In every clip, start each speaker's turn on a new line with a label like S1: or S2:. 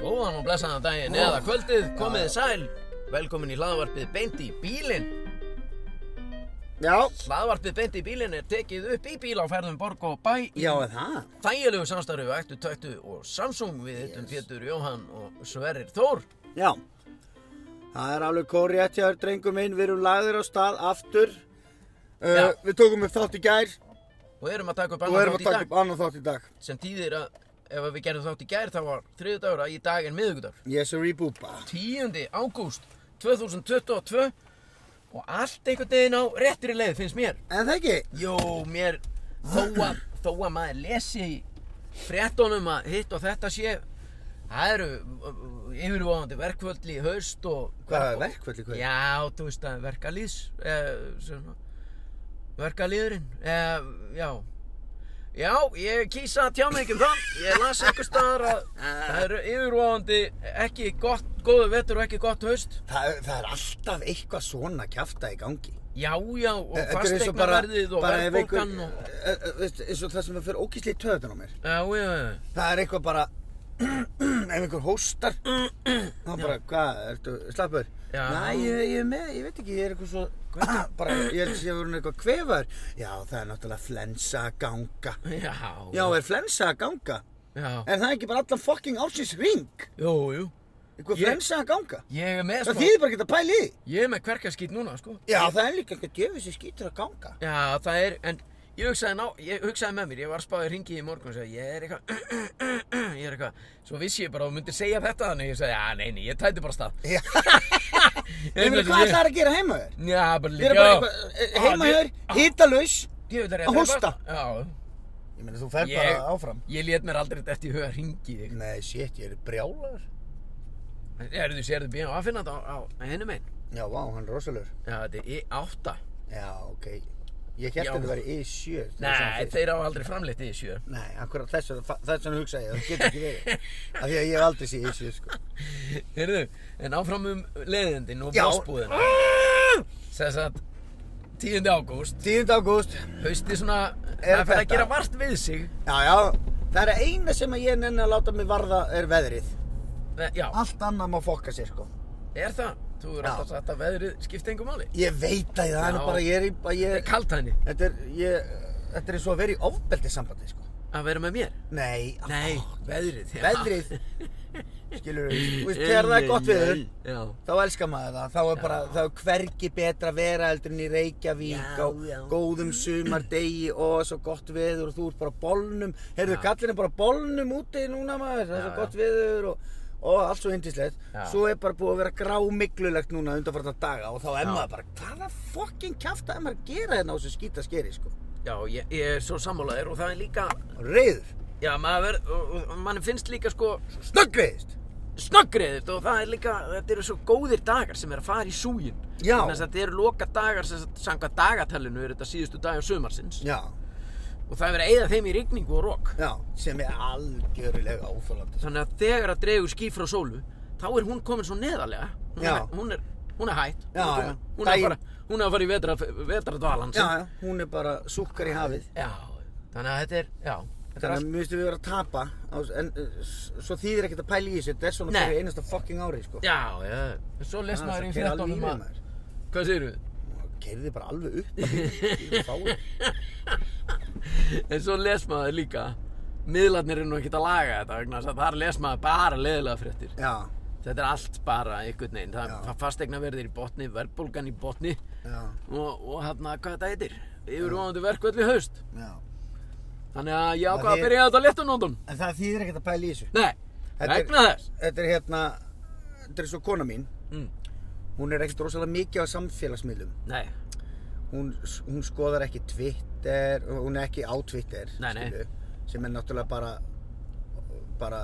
S1: Góðan og blessaðan daginn eða kvöldið, komið sæl. Velkomin í hlaðvarpið beint í bílinn.
S2: Já,
S1: Hlaðvarpið beint í bílinn er tekið upp í bíl á ferðum borg og bæ í
S2: já er það.
S1: þægilegu samstarfi við Ættu, Tættu og Samsung. Við hittum Pétur Jóhann og Sverrir Þór.
S2: Já. Það er alveg kóriætt hjá þér drengum minn, við erum lagðir á stað aftur.
S1: Já.
S2: Uh, við tókum upp þátt í gær
S1: Og erum að taka upp
S2: og
S1: annan
S2: erum
S1: þátt
S2: að
S1: í
S2: taka
S1: dag.
S2: upp annan þátt í dag.
S1: Sem tíðir að ef við gerum þátt í gær þá var þriðudagur að í dag er miðugudagur.
S2: Yes, sir, búba.
S1: 10. ágúst 2022 og allt einhvern veginn á réttri leið finnst mér.
S2: En það ekki?
S1: Jó, mér þó að, þó að maður lesi í fréttunum að hitt og þetta sé það eru uh, yfirvofandi verkvöldli í haust og
S2: Hvað er verkvöld í hvað?
S1: Já, þú veist að verkalýðs eh, verkalýðurinn eh, já Já, ég kýsa að tjá mig ekki um það Ég las einhver staðar að það eru yfirvofandi ekki gott, góðu vetur og ekki gott haust
S2: Það, það er alltaf eitthvað svona kjafta í gangi.
S1: Já, já, og
S2: Eh, Þetta er eins og bara-
S1: fasteignaverðið og
S2: bara ef
S1: verðbólgan
S2: einhver-
S1: og
S2: Eh, eh, veist, eins og það sem er fyrir ógísli í töðan á mér.
S1: Já, já, já
S2: Það er eitthvað bara, ef einhver hóstar, þá bara, hvað, ertu slappur?
S1: Já.
S2: Næ, ég, ég er með, ég veit ekki, ég er eitthvað svo, bara, ég held að ég voru eitthvað kvefaður. Já, það er náttúrulega flensa að ganga.
S1: Já,
S2: Já, er flensa að ganga?
S1: já.
S2: Er það ekki bara allan fucking ársins ring?
S1: Jú, jú.
S2: Eitthvað
S1: Ég-
S2: flensa að ganga?
S1: Ég er með,
S2: Það
S1: sko,
S2: þýðir bara ekki að pæli því.
S1: ég er með kverkaskýt núna, sko.
S2: Já, það er líka eitthvað djöfis sem skýtur að ganga.
S1: Já, það er, en ég hugsaði, ná, ég hugsaði með mér, ég var spáðið ringi í morgun og sagði, ég er eitthvað, ég er eitthvað, svo vissi ég bara að þú myndir segja þetta þannig, ég sagði, já, nei, nei, ég tæti bara stað.
S2: Já.
S1: Ég
S2: Ég
S1: veit
S2: meina, hvað
S1: ekki,
S2: ætlar að gera heima þér?
S1: Já, bara
S2: Þið eru
S1: líka,
S2: bara
S1: já.
S2: eitthvað, eh,
S1: Ah,
S2: heima
S1: ég-
S2: þér, hitalaus.
S1: Djöfull er ég
S2: að
S1: drepa.
S2: hósta.
S1: Já,
S2: Ég meina, þú fer
S1: Ég-
S2: bara áfram.
S1: ég lét mér aldrei þetta í huga að ringi þig.
S2: Nei, shit, ég er brjálagur.
S1: Erðu, sérðu, býðum að finna þetta á, á henni megin.
S2: Já, vá, hann er rosalegur.
S1: Já, þetta er E I8.
S2: Já, ok. Ég
S1: Já.
S2: hérta þetta verið I7.
S1: Nei, þeir á aldrei framleitt í sjö.
S2: Nei, akkurat þess að þess að hugsa ég, það getur ekki verið. Af því að ég hef aldrei séð I7, sko.
S1: Heyrðu, en áfram um leiðindin og
S2: Já.
S1: bósbúðina. Sess að 10. ágúst,
S2: 10. ágúst.
S1: hausti svona,
S2: Er
S1: það fyrir að
S2: þetta?
S1: gera vart við sig.
S2: Já, já. Það er eina sem að ég nenni að láta mig varða er veðrið.
S1: Ve- Já,
S2: Allt annað má fokka sér, sko.
S1: er það? Þú er
S2: Ah. Já.
S1: alltaf sagt að veðrið skipti engum máli.
S2: Ég veit að það er
S1: Já.
S2: nú bara, ég er í, bara,
S1: Það er
S2: ég,
S1: kalt henni
S2: þetta er, ég, þetta er eins og að vera í ofbeldi sambandi, sko.
S1: að vera með mér.
S2: Nei,
S1: Nei, veðrið. já.
S2: Ah. veðrið, skilur við, veist, þegar það er gott veður,
S1: Já,
S2: Þá elskar maður það, þá er bara, þá er hvergi betra að vera heldur en í Reykjavík
S1: Já,
S2: á
S1: já.
S2: góðum sumardegi og svo gott veður og þú ert bara á bólnum, heyrðu kallin er bara á bólnum úti núna maður, það er
S1: Já,
S2: svo
S1: já.
S2: gott veður og, og allt svo hindislegt.
S1: Já.
S2: Svo er bara búið að vera grámiglulegt núna undanfarta daga og þá er
S1: Já.
S2: maður bara, hvaða fokkin kjafta er maður að gera hérna á þessu skýta skeri sko?
S1: já ég, ég er svo sammálaðir og það er líka,
S2: Reyður,
S1: já, maður, verð- og- og- og manni finnst líka sko
S2: snöggriðist.
S1: snöggriðist og það er líka, þetta eru svo góðir dagar sem er að fara í súgin
S2: Já.
S1: Þannig að þetta eru loka dagar sem sanga dagatallinu er þetta síðustu dagar sömarsins
S2: Já,
S1: og það er verið að eyða þeim í rigningu og rók
S2: já, sem er algjörlega óþólandi.
S1: þannig að þegar að dregur ský frá sólu þá er hún komin svo neðarlega hún,
S2: Já.
S1: er, hún, er, hún er hætt
S2: Já,
S1: hún, er
S2: já.
S1: komin- hún, er
S2: Daginn-
S1: bara, hún er að fara í vetra, vetradvalan
S2: Já,
S1: sinn.
S2: já, hún er bara súkkar í hafið.
S1: já, þannig að þetta er, já, þetta er
S2: Þannig að mér finnst við vera að tapa á, en uh, s- svo þýðir ekkert að pæla í þessu þetta er svona
S1: Nei.
S2: fyrir einasta fucking ári sko
S1: allt já, já, svo les maður í fréttunum að
S2: maður
S1: hvað segir við?
S2: Keirði bara alveg upp að bíl, fáið.
S1: En svo les maður líka miðlarnir eru nú ekkert að laga þetta vegna þess að þar les maður bara leðilega fréttir
S2: Já,
S1: Þetta er allt bara einhvern veginn Það,
S2: Já.
S1: það fastegna verðir í botni, verðbólgan í botni
S2: já,
S1: og, og hérna hvað þetta heitir yfirvonandi verkvöld í haust
S2: já
S1: Þannig að ég ákvað
S2: Það
S1: að
S2: þýðir-
S1: byrja þetta á léttunóndun
S2: En það þýðir ekkert að pæla í þessu
S1: Nei,
S2: Þetta er-
S1: vegna þess
S2: Þetta er hérna, þetta er svo kona mín
S1: mm.
S2: Hún er ekkert rosalega mikið á samfélagsmiðlum
S1: Nei,
S2: hún, hún skoðar ekki Twitter, hún er ekki á Twitter
S1: Nei, nei.
S2: skilju, sem er náttúrulega bara bara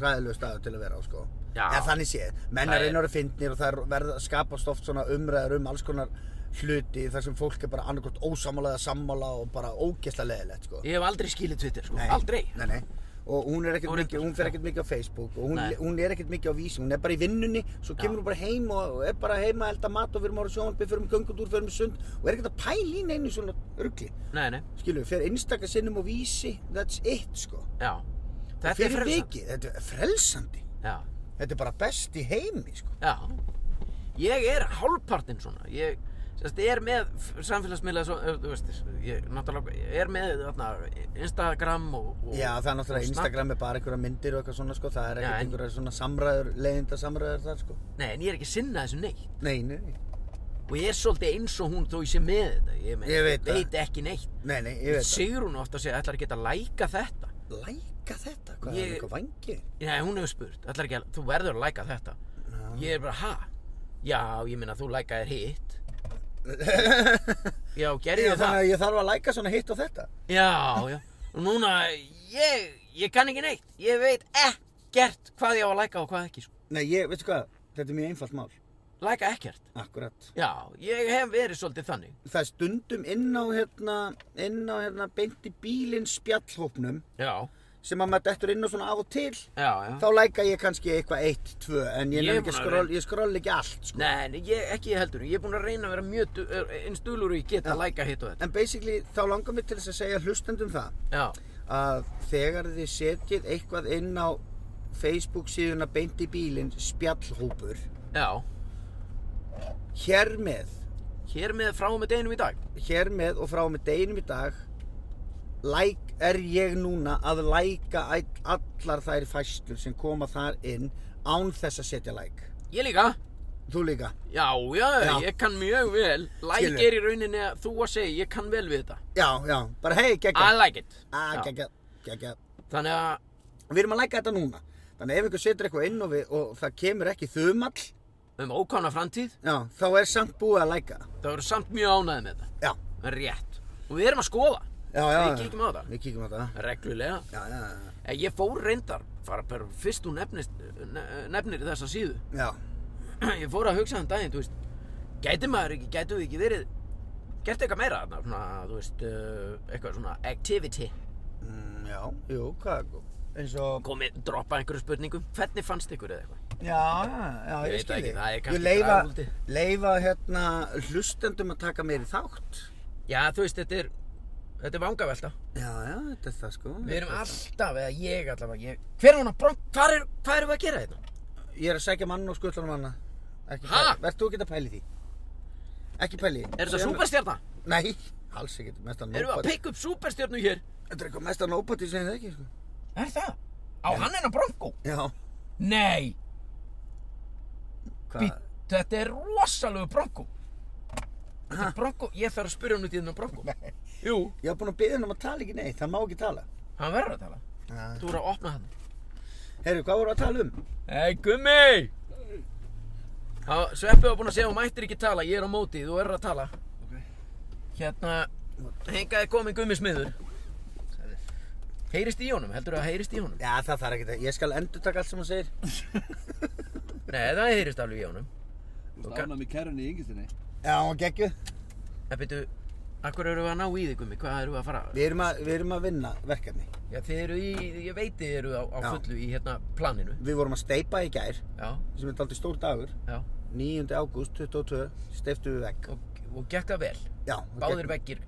S2: hræðilegu staðu til að vera á sko
S1: Já.
S2: en þannig séð, menn
S1: Það
S2: er
S1: er-
S2: einar að fyndnir og það er- verða skapast oft svona umræður um alls konar hluti þar sem fólk er bara annarkort ósamála eða sammála og bara ógeðslega leðilegt sko
S1: ég hef aldrei skilið Twitter sko,
S2: Nei.
S1: aldrei
S2: Nei, nei. Og hún er ekkert
S1: Hún er-
S2: mikið, hún fer ekkert mikið á Facebook og hún,
S1: Nei.
S2: hún er ekkert mikið á vísi, hún er bara í vinnunni, svo
S1: Já.
S2: kemur hún bara heim og og er bara heima að elda mat og fyrir maður sjónarbi, fyrir maður göngutúr, fyrir maður sund og er ekkert að pæla í neinu svona örgli.
S1: Nei, nei,
S2: Skilu, fyrir einstaka sinnum á vísi, that's it sko.
S1: já Þetta er
S2: fyrir
S1: frelsa
S2: vikið, þetta er frelsandi.
S1: Já,
S2: þetta er bara best í heimi sko.
S1: Já, ég er hálfpartinn svona, ég sérst, er með samfélagsmiðla, svo, eh, þú veist, ég náttúrulega ég er með þarna, Instagram og, og
S2: Já, það er
S1: og
S2: náttúrulega
S1: Snap-
S2: Instagram er bara einhverja myndir og eitthvað svona sko, það er
S1: Já,
S2: ekkert
S1: en-
S2: einhverja svona samræður, leiðinda samræður þar sko.
S1: Nei, en ég er ekki að sinna þessu neitt
S2: Nei, nei, nei.
S1: og ég er svolítið eins og hún þó ég sé með þetta, ég, meina,
S2: Ég veit það.
S1: ekki neitt
S2: Nei, nei, ég veit það.
S1: Sigrún átt að segja, ætlar ekki að læka þetta
S2: Læka þetta, hvað
S1: Ég-
S2: er eitthvað vangið?
S1: Nei, hún hefur spurt, ætlar ekki að, þú verður að læka þetta Ég er bara, ha? Já, ég meina þú lækaðir hitt Já, gerði
S2: Þannig
S1: ég það?
S2: að ég þarf að læka svona hitt og þetta.
S1: Já, já. Og núna, ég, ég kann ekki neitt. Ég veit ekkert hvað ég á að læka og hvað ekki. Sko.
S2: Nei, ég, veistu hvað, þetta er mjög einfalt mál.
S1: Læka ekkert.
S2: Akkurat.
S1: Já, ég hef verið svolítið þannig.
S2: Það er stundum inn á hérna, inn á hérna, beint í bílinn spjallhópnum
S1: Já,
S2: sem að maður dettur inn á svona af og til.
S1: já, já.
S2: Þá læka ég kannski eitthvað eitt, tvö, en
S1: Ég
S2: ég, ég,
S1: er
S2: ekki,
S1: búinn að
S2: skroll, ég skroll ekki allt, sko.
S1: Nei, nei, ég, ekki ég heldur. Ég er búinn að reyna að vera mjög du- er- eins dulur og ég get að læka hitt og þetta.
S2: En basically, þá langar mér til þess að segja hlustendum það
S1: Já,
S2: að þegar þið setjið eitthvað inn á Facebook síðuna beint í bílinn spjallhópur
S1: já.
S2: hér með,
S1: Hér með frá og með deginum í dag.
S2: hér með og frá og með deginum í dag læk, er ég núna að læka all- allar þær fæslur sem koma þar inn án þess að setja læk
S1: Ég líka.
S2: þú líka,
S1: Já, já,
S2: Já.
S1: ég kann mjög vel. Læk
S2: Skilur.
S1: er í rauninni að þú að segja, ég kann vel við þetta.
S2: já, já, bara hei,
S1: I
S2: geggja
S1: like it.
S2: að
S1: Já.
S2: geggja, geggja
S1: Þannig að,
S2: við erum að læka þetta núna þannig að ef einhver setur eitthvað inn og, við, og það kemur ekki þumall
S1: um ókána framtíð,
S2: já, þá er samt búið að læka
S1: þá eru samt mjög ánæðið með þetta.
S2: já,
S1: En rétt. Og við erum að skoða.
S2: já, já
S1: Við kíkjum á það.
S2: við kíkjum á það
S1: Reglulega.
S2: já, já, já.
S1: En ég fór reyndar, fara bara fyrst þú nefnist, ne- nefnir þessa síðu.
S2: Já,
S1: Ég fór að hugsa þann daginn, þú veist, gæti maður ekki, gætu við ekki verið, gert eitthvað meira þarna, svona, þú veist, uh, eitthvað svona activity.
S2: mm, já, jú, hvað, eins og,
S1: Komið, droppa einhverju spurningum, hvernig fannst ykkur eða eitthvað?
S2: já, já, já,
S1: Ég
S2: ég,
S1: veit
S2: skil
S1: ekki,
S2: þig.
S1: það er
S2: Ég
S1: kannski
S2: leifa,
S1: dragúldi.
S2: leifa, hérna, hlustendum að taka meiri þátt.
S1: Já, þú veist, þetta er, þetta er vangavelta.
S2: Já, já, þetta er það, sko.
S1: Við erum alltaf, eða ég allavega, ég, hver er hún að brónt, hvað er, hvað erum við að gera hérna? þetta?
S2: Ég er að segja mann og skutlanum manna. Ekki
S1: Ha?
S2: pæli, verð þú ekki að pæli því? Ekki pæli.
S1: Er þetta súperstjarnar?
S2: Nei, alls ekki, mesta nópati.
S1: Erum við að pikka upp súperstjarnu hér?
S2: Þetta er eitthvað mesta nópati sem það ekki, sko.
S1: Er það? Á hann en að bronko?
S2: Já.
S1: Nei!
S2: Hvað?
S1: Bít, þetta er rosalegu bronko Þetta er bronko, ég þarf að spyrja hann út í hérna um þennan bronko Jú,
S2: Ég haf búin að byggja hann um að tala ekki neitt, hann má ekki tala.
S1: hann verður að tala
S2: Ja.
S1: Þú voru að opna hann
S2: Herru, hvað voru að tala um?
S1: Hei, gummi! Þá, Sveppi var búinn að segja, hún mættir ekki tala, ég er á móti, þú verður að tala
S2: Ok.
S1: Hérna, hengaði komin gummi smiður Heyrist í honum, heldur það að heyrist í honum?
S2: Já, það þarf ekki það. Ég skal endur taka allt sem hann segir.
S1: Nei, það heyrist alveg í honum
S3: Þú
S1: Ok.
S3: veist ánað með kærunni í yngistinni.
S2: Já, hann geggjuð.
S1: En byrju, akkur eru við að ná í þig gummi, hvað eru við að fara?
S2: Við erum, að, við erum að vinna verkefni.
S1: Já, þið eru í, ég veit þið eru á, á
S2: Já.
S1: fullu í hérna planinu.
S2: Við vorum að steipa í gær,
S1: Já,
S2: sem er aldrei stór dagur,
S1: já.
S2: 9. ágúst 22, steiftu við vegg.
S1: Og, og gekk það vel.
S2: Já,
S1: Báðir veggir.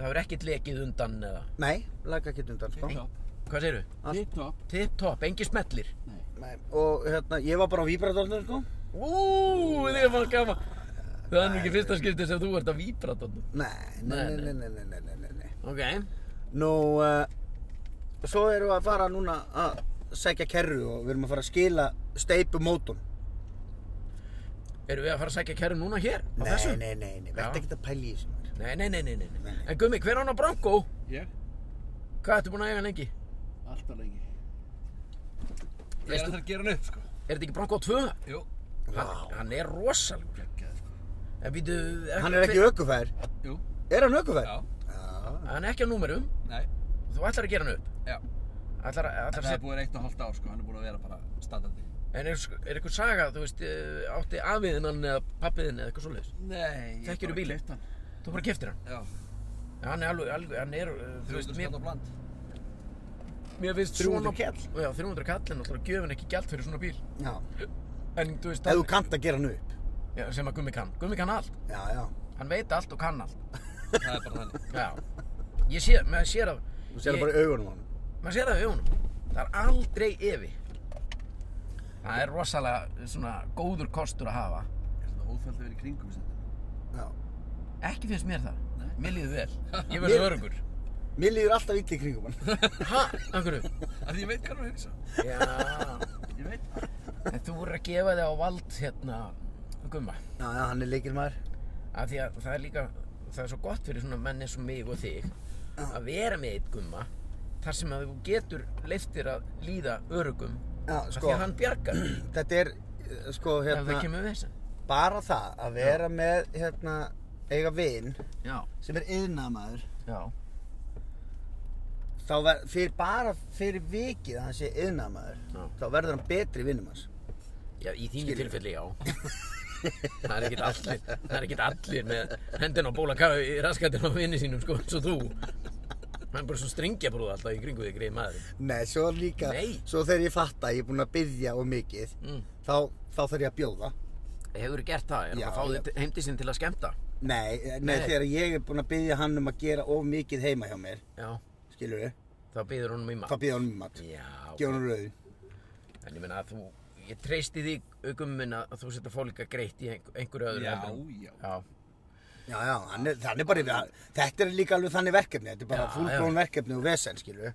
S1: Það hefur ekkert lekið undan eða.
S2: Nei, laga ekki undan, sko.
S3: Tipp-topp.
S1: Hvað segirðu?
S2: Allt.
S3: Tipp-topp.
S1: Tip top, engi smetlir.
S3: Nei.
S2: Nei, og hérna, ég var bara á víbratornum, sko.
S1: Úúúú, þið er bara gaman. Það er nú ekki fyrsta skipti sem þú ert að víbra þarna.
S2: Nei, nei,
S1: Nei,
S2: nei, nei, nei, nei, nei, nei, nei.
S1: Ok.
S2: Nú, uh, svo erum við að fara núna að segja kerru og við erum að fara að skila steipu mótum.
S1: Erum við að fara að sækja kæru núna hér? Á
S2: Nei,
S1: þessu?
S2: nei, nei, nei,
S1: Já.
S2: verður ekki að pæli í þessu. maður.
S1: Nei, nei, nei, nei, nei. nei.
S2: Nei.
S1: En Gummi, hver án á Bronco?
S3: Ég?
S1: Hvað ertu búinn að eiga lengi?
S3: Alltaf lengi. Ég er
S1: Veistu-
S3: alltaf að gera hann upp, sko.
S1: Er þetta ekki Bronco 2?
S3: Jú.
S1: Hann,
S2: Vá.
S1: hann er rosalegur.
S3: Gæði, sko.
S1: En býtu...
S2: Hann er ekki ökufær.
S3: Jú.
S2: Er hann ökufær?
S3: Já.
S2: Já.
S1: Hann er ekki á númerum.
S3: Nei.
S1: Þú ætlar að gera hann upp?
S3: Já.
S1: Ætlar, að- ætlar að
S3: Það er
S1: setja...
S3: búin eitt og hálft ár, sko. Hann er búin að vera bara standandi.
S1: En er, er eitthvað saga, þú veist, eh, átti afiðinn hann eða pappiðinn eða eitthvað svoleiðis?
S3: Nei.
S1: Þekkirðu bílinn?
S3: hann.
S1: Þú bara keftir hann.
S3: Já.
S1: Ja, Hann er alveg, alveg hann er, eh, þú veist,
S3: 300
S1: mér,
S3: skott á bland.
S1: mér finnst
S2: 300
S1: svona...
S2: kall.
S1: Já, 300 kall, en alltaf gjöfin ekki gjald fyrir svona bíl.
S2: Já.
S1: En, þú veist,
S2: Ef þú
S1: hann,
S2: kannt að gera hann upp.
S1: já, sem að Gummi kann. Gummi kann allt.
S2: Já, já.
S1: Hann veit allt og kann allt.
S3: Það er bara þannig.
S1: Já. Ég sé, maður sér að...
S2: Þú sér það
S1: ég-
S2: bara í augunum á hann.
S1: Maður sér það í augunum. Það er aldrei efi. Það er rosalega svona góður kostur að hafa.
S3: Er þetta óþælt að vera í kringum þetta?
S2: Já.
S1: Ekki finnst mér það.
S3: Nei.
S1: Mér líður vel. Ég
S2: Mér-
S1: verður örugur.
S2: Mér líður alltaf illa í kringum hann.
S1: Ha? Akkur?
S3: Það ég veit hvað hún er að hugsa.
S1: Já.
S3: Ég veit það.
S1: En þú voru að gefa þig á vald hérna, gumma.
S2: Já, já, hann er leikir maður.
S1: Af því að það er líka, það er svo gott fyrir svona menn eins og mig og þig að vera með eitt gumma þar sem að þú getur leiftir að líða örugum
S2: Já,
S1: af því
S2: sko,
S1: að hann bjargar þér
S2: þetta er, eh, sko,
S1: ef það
S2: hérna,
S1: kemur vesen.
S2: bara það að vera með, hérna, eiga vin
S1: Já,
S2: sem er yðnamaður,
S1: já,
S2: þá ver, fyrir, bara fyrir vikið að hann sé yðnamaður,
S1: Já.
S2: þá verður hann betri vinnum hans.
S1: já, í þínu
S2: Skilur.
S1: tilfelli já. það er ekkert allir, það er ekkert allir með hendina á bólakafi í raskatinn á vini sínum sko, eins og þú. Hann er bara svo stringja brúð alltaf í kringu því greið maður.
S2: Nei, svo líka,
S1: Nei.
S2: svo þegar ég fatt að ég er búinn að byggja og mikið,
S1: Mm.
S2: þá, þá þarf ég að bjóða.
S1: Hefur gert það, er
S2: Já,
S1: það að fá
S2: já.
S1: þig heimdi sinn til að skemmta?
S2: Nei, eh, nei,
S1: Nei.
S2: þegar ég er búinn að byggja hann um að gera of mikið heima hjá mér,
S1: Já,
S2: skilur við,
S1: þá býður honum í
S2: þá
S1: maður.
S2: byggja hann um mat,
S1: Já, ok.
S2: gefa hann rauðin.
S1: En ég meina að þú, ég treysti því aukummin að þú setja fólika greitt í einhver- einhverju öðru
S3: Já,
S1: heldur en-
S3: já.
S1: Já,
S2: Já, já, hann er, hann er bara, yfir- þetta er líka alveg þannig verkefni, þetta er bara
S1: Já,
S2: fullblón verkefni og vesen, skilur
S1: en
S2: við,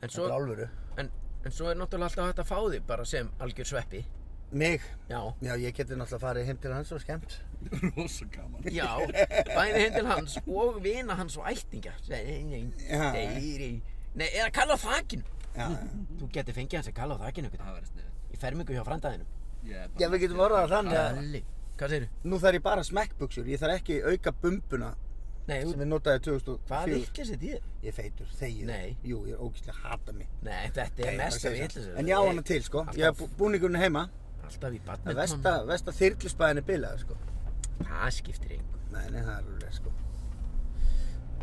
S2: þetta er
S1: svo,
S2: alvöru.
S1: en, en svo er náttúrulega alltaf hægt að fá því bara sem algjör sveppi.
S2: Mig,
S1: Já,
S2: já, ég geti náttúrulega farið heim til hans og skemmt.
S3: Rosa gaman.
S1: já, bæði heim til hans og vina hans og ættinga. Nei, nei,
S2: Já.
S1: nei, nei, eða kalla á þakinu.
S2: Já, já.
S1: Þú getur fengið hans að kalla á þakinu einhvern veginn.
S3: Það verður sniðið.
S1: Í fermingu hjá frandaðinu.
S3: Ég
S2: Já, við getum orðað það þannig að
S1: Alli, hvað segirðu?
S2: nú þarf ég bara smekkbuksur, ég þarf ekki auka bumbuna
S1: Nei,
S2: sem
S1: þú,
S2: ég notaði
S1: hvað
S2: 2004.
S1: vittlis þetta ég?
S2: Ég er feitur, þegið.
S1: Nei.
S2: Jú, ég er ógæslega hata mig.
S1: Nei, þetta er
S2: Ég bara
S1: mest að
S2: segi
S1: vittlis.
S2: það. En ég á hana til, sko. Ég hef búningurinn heima.
S1: Alltaf í
S2: Það
S1: badminton.
S2: vesta, vesta þyrlusbæðin er bilaður, sko.
S1: Það skiptir engu.
S2: Nei, nei, það er alveg, sko.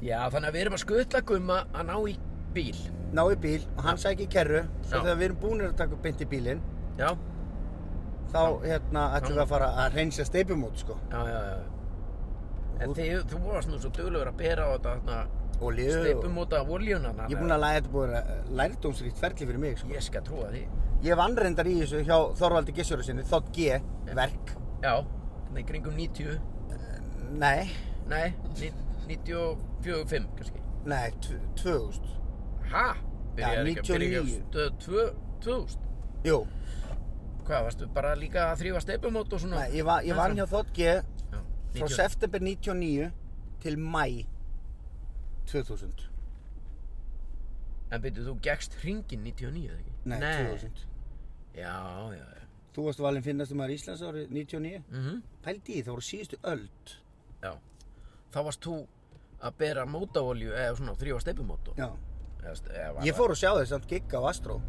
S1: Já, þannig að við erum að skutla gumma að ná í bíl.
S2: Ná í bíl og hann sækir kerru. Svo
S1: Já.
S2: þegar við erum búinir að taka upp beint í bílinn,
S1: Já,
S2: þá, hérna, ætlum við að fara að reynsa steipumót, sko.
S1: já, já, já. En þið, þú varst nú svo duglegur að bera á þetta þarna
S2: Olíu.
S1: steipum út af olíuna
S2: Ég er búinn að læra þetta búið að lærdómsrikt ferli fyrir mig, sko.
S1: Ég skal trúa því.
S2: Ég vann reyndar í þessu hjá Þorvaldi Gissuru sinni, þátt G, verk.
S1: Já, þannig kringum 90,
S2: Nei,
S1: nei, ní- 94, 5 kannski.
S2: nei, tv- 2000.
S1: Ha?
S2: Já,
S1: Byrjaði ekki að byrja
S2: 99.
S1: stöð 2, 2000.
S2: Jú,
S1: Hvað, varstu bara líka að þrýfa steipumót og svona?
S2: nei, ég, va ég vann hjá þátt G
S1: Já,
S2: frá
S1: 90.
S2: september 99 til mæ 2000
S1: En byrju, þú gekkst hringin 99, eða ekki?
S2: Nei, 2000
S1: Já, já, já.
S2: Þú varst valinn finnast maður Íslands árið 99
S1: Mhm.
S2: Pældi í, það voru síðustu öld
S1: Já, þá varst þú að bera mótaolju eða svona þrjóa steipumótó.
S2: Já
S1: Eða, st- eða var,
S2: Ég fór og sjá þér samt gigga á Astro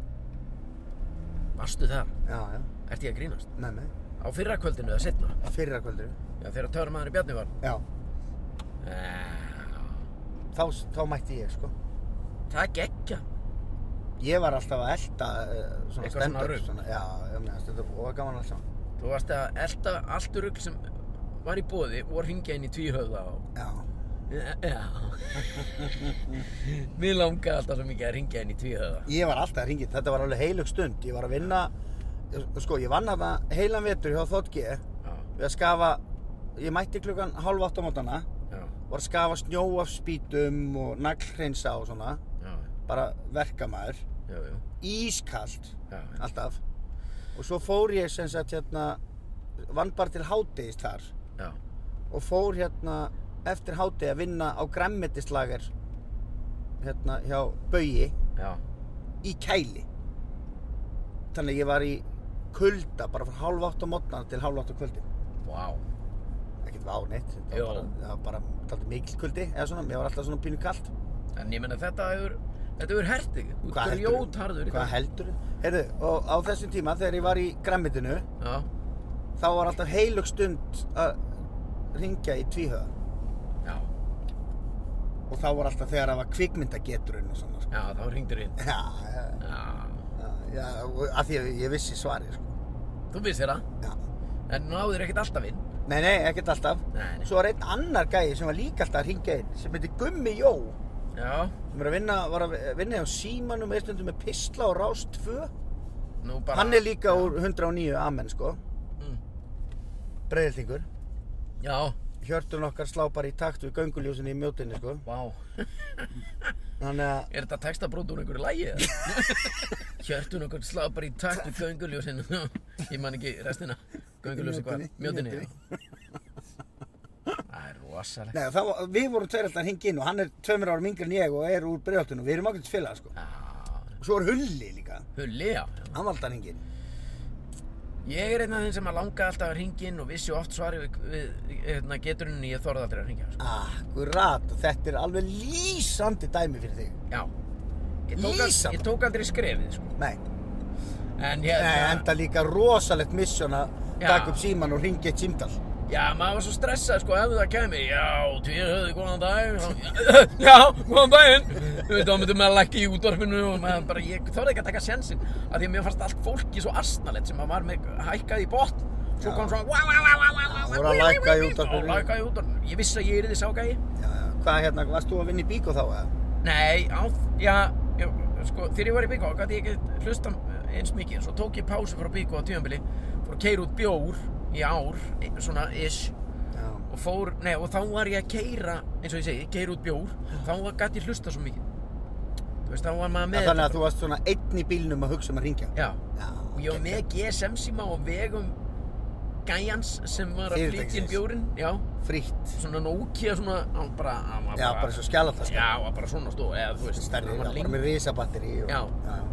S1: Varstu þar?
S2: Já, já,
S1: Ert ég að grínast?
S2: með með
S1: Á fyrra kvöldinu eða setna?
S2: Fyrra kvöldur
S1: Já, þegar törmaður í Bjarni var.
S2: Já
S1: Já,
S2: þá, þá mætti ég sko
S1: það gekkja.
S2: Ég var alltaf að elta uh, svona
S1: Eitthvað svona
S2: stand-up
S1: rugl.
S2: svona, Já, já, mér stundur og það gaman alltaf
S1: Þú varst að elda allt rugg sem var í bóði og ringja inn í tvíhöfða og...
S2: Já
S1: Já. Mér langaði alltaf svo mikið að ringja inn í tvíhöfða.
S2: Ég var alltaf að ringið, þetta var alveg heilug stund Ég var að vinna Sko, ég vann hana heilan vetur hjá Þótt G
S1: Já,
S2: við að skafa ég mætti klukkan hálf átt á mótana
S1: já,
S2: var að skafa snjó af spýtum og naglhreinsa og svona
S1: já,
S2: bara verkamaður
S1: já, já,
S2: ískalt
S1: já, já,
S2: alltaf og svo fór ég sem sagt hérna vann bara til hádegis þar
S1: já,
S2: og fór hérna eftir hádegi að vinna á græmmetislager hérna hjá Bögi
S1: já,
S2: í kæli þannig að ég var í kulda bara frá hálf átt á mótana til hálf átt á kvöldin
S1: vá,
S2: ekkert vá neitt það
S1: Jó.
S2: var bara, það var bara taldi mikil kuldi eða svona, mér var alltaf svona pínu kallt
S1: en ég menna þetta hefur, þetta hefur hert þig, þú
S2: Hvað
S1: er
S2: heldurðu?
S1: ljótharður í
S2: hvað
S1: dag.
S2: heldur heyrðu, og á þessum tíma þegar ég var í græmitinu
S1: Já,
S2: þá var alltaf heilug stund að ringja í tvíhöða
S1: já,
S2: og þá var alltaf þegar það var kvikmyndageturinn og svona sko.
S1: já, þá ringdur inn.
S2: já, já,
S1: Já,
S2: já, já og af því að ég vissi svarið sko.
S1: þú vissir það,
S2: já.
S1: en náður ekkert alltaf inn.
S2: nei, nei, ekkert alltaf
S1: Nei, nei.
S2: svo var einn annar gæi sem var líka alltaf að ringja inn sem heiti Gummi Jó
S1: Já,
S2: sem var að vinna, var að vinna hjá símanum eða stundum með pistla og rást 2
S1: Nú bara...
S2: Hann er líka úr 109 Amen sko
S1: Mm.
S2: Breiðiltingur
S1: Já,
S2: Hjörtun okkar slá bara í takt við gönguljósinni í mjótinni sko
S1: vá.
S2: Þannig að
S1: Er þetta textabrót úr einhverju lægi eða? Hjörtun okkur slá bara í takt við gönguljósin. Ég man ekki restina. Gönguljósin hvað? Mjótinni,
S2: Mjótinni.
S1: já. Það er rosalegt.
S2: Nei, það, var- við vorum tveir alltaf hingin og hann er tveimur árum yngri en ég og er úr breiðaltunum Við erum okkur til félag sko
S1: Já,
S2: Og svo er Hulli líka
S1: hulli, já.
S2: Hann var alltaf hingin
S1: Ég er einn af þeim sem að langa alltaf að hringin og vissi oft svari við, við hérna, geturinni ég þorði aldrei að hringja. Sko.
S2: Akkurat og þetta er alveg lýsandi dæmi fyrir þig
S1: Já. Ég tók, al-
S2: Lýsandi.
S1: ég tók aldrei skrefið, sko.
S2: Nei,
S1: En
S2: Nei
S1: hérna...
S2: enda líka rosalegt misjón að
S1: Já.
S2: taka upp síman og ringa eitt símdal
S1: Já, maður var svo stressað sko ef það kemi Já, tvír höfðu, góðan dag Já, Já, góðan daginn Þú veit, þá myndum maður lækki í útvarpinu og maður bara, ég þorði ekki að taka sensin af því að mér fannst allt fólki svo asnalett sem maður var með hækkað í botn svo kom svona wow, wow, wow, wow, wow,
S2: voru að lækka í útvarpinu.
S1: Og lækkaði í útvarpinu Ég vissi að ég yrði ságægi
S2: Já, já. Hvað hérna, varst þú að vinna í bíkó þá eða?
S1: Nei, á, já, já, sko, þegar ég var í Byggó gæti ég ekki hlusta eins mikið svo tók ég pásu frá Byggó á tímanbili fór að keira út bjór í ár svona ish
S2: Já.
S1: og fór, nei, og þá var ég að keira eins og ég segi, keira út bjór þá gæti ég hlusta svo mikið þú veist, þá var maður með
S2: Þannig að
S1: þetta
S2: þú varst svona einn í bílnum að hugsa um að ringja
S1: bara. já,
S2: Já,
S1: og ég var með GSM síma og vegum gæjans sem var að flytja inn
S2: Fyrirtækisins.
S1: bjórin já,
S2: Frítt
S1: svona Nokia svona, hann bara hann var
S2: Já, bara svo skjálataska
S1: já, hann var bara svona stóð, eða þú veist
S2: Stærri,
S1: hann
S2: já,
S1: var
S2: bara
S1: lengi.
S2: með risabatteri og...
S1: Já.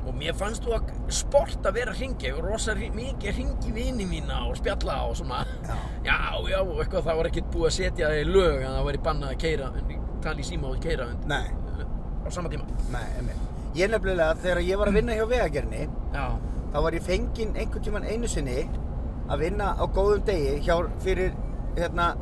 S1: og mér fannst þú að sport að vera að hringja, ég var rosa hring- mikið að hringi vini mína og spjalla og svona
S2: Já.
S1: já, já, og eitthvað það var ekkert búið að setja það í lög að það væri bannað að keira tala í síma og keira und,
S2: Nei,
S1: á sama tíma
S2: nei, emmi Ég nefnilega, þegar ég var að vinna hjá vegagerni
S1: já,
S2: þá var ég fenginn einhvern tíman einu sinni að vinna á góðum degi hjá, fyrir hérna,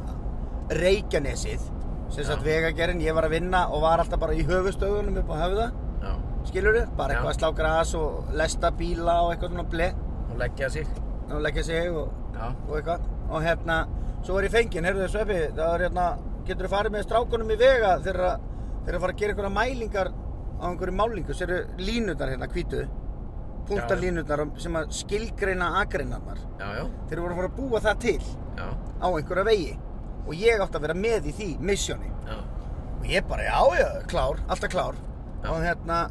S2: Reykjanesið sem
S1: Já.
S2: sagt vegagerinn, ég var að vinna og var alltaf bara í höfustöðunum upp á höfða
S1: já,
S2: skilur
S1: Já.
S2: bara eitthvað að slá gras og lesta bíla og eitthvað svona ble
S1: og leggja sig
S2: og leggja sig og,
S1: já,
S2: og eitthvað og hérna, svo var ég fenginn, heyrðu þessu eppi það er hérna, getur þú farið með strákunum í vega þegar að- þeir eru að fara að gera einhverja mælingar á einhverju málingu, þessu eru línurnar hérna, hvítu punktarlínurnar sem að skilgreina agreinarnar
S1: já, já,
S2: þeir voru að fara að búa það til
S1: já,
S2: á einhverja vegi og ég átti að vera með í því missjóni
S1: já.
S2: og ég bara, já, já, klár, alltaf klár
S1: Já.
S2: og hérna,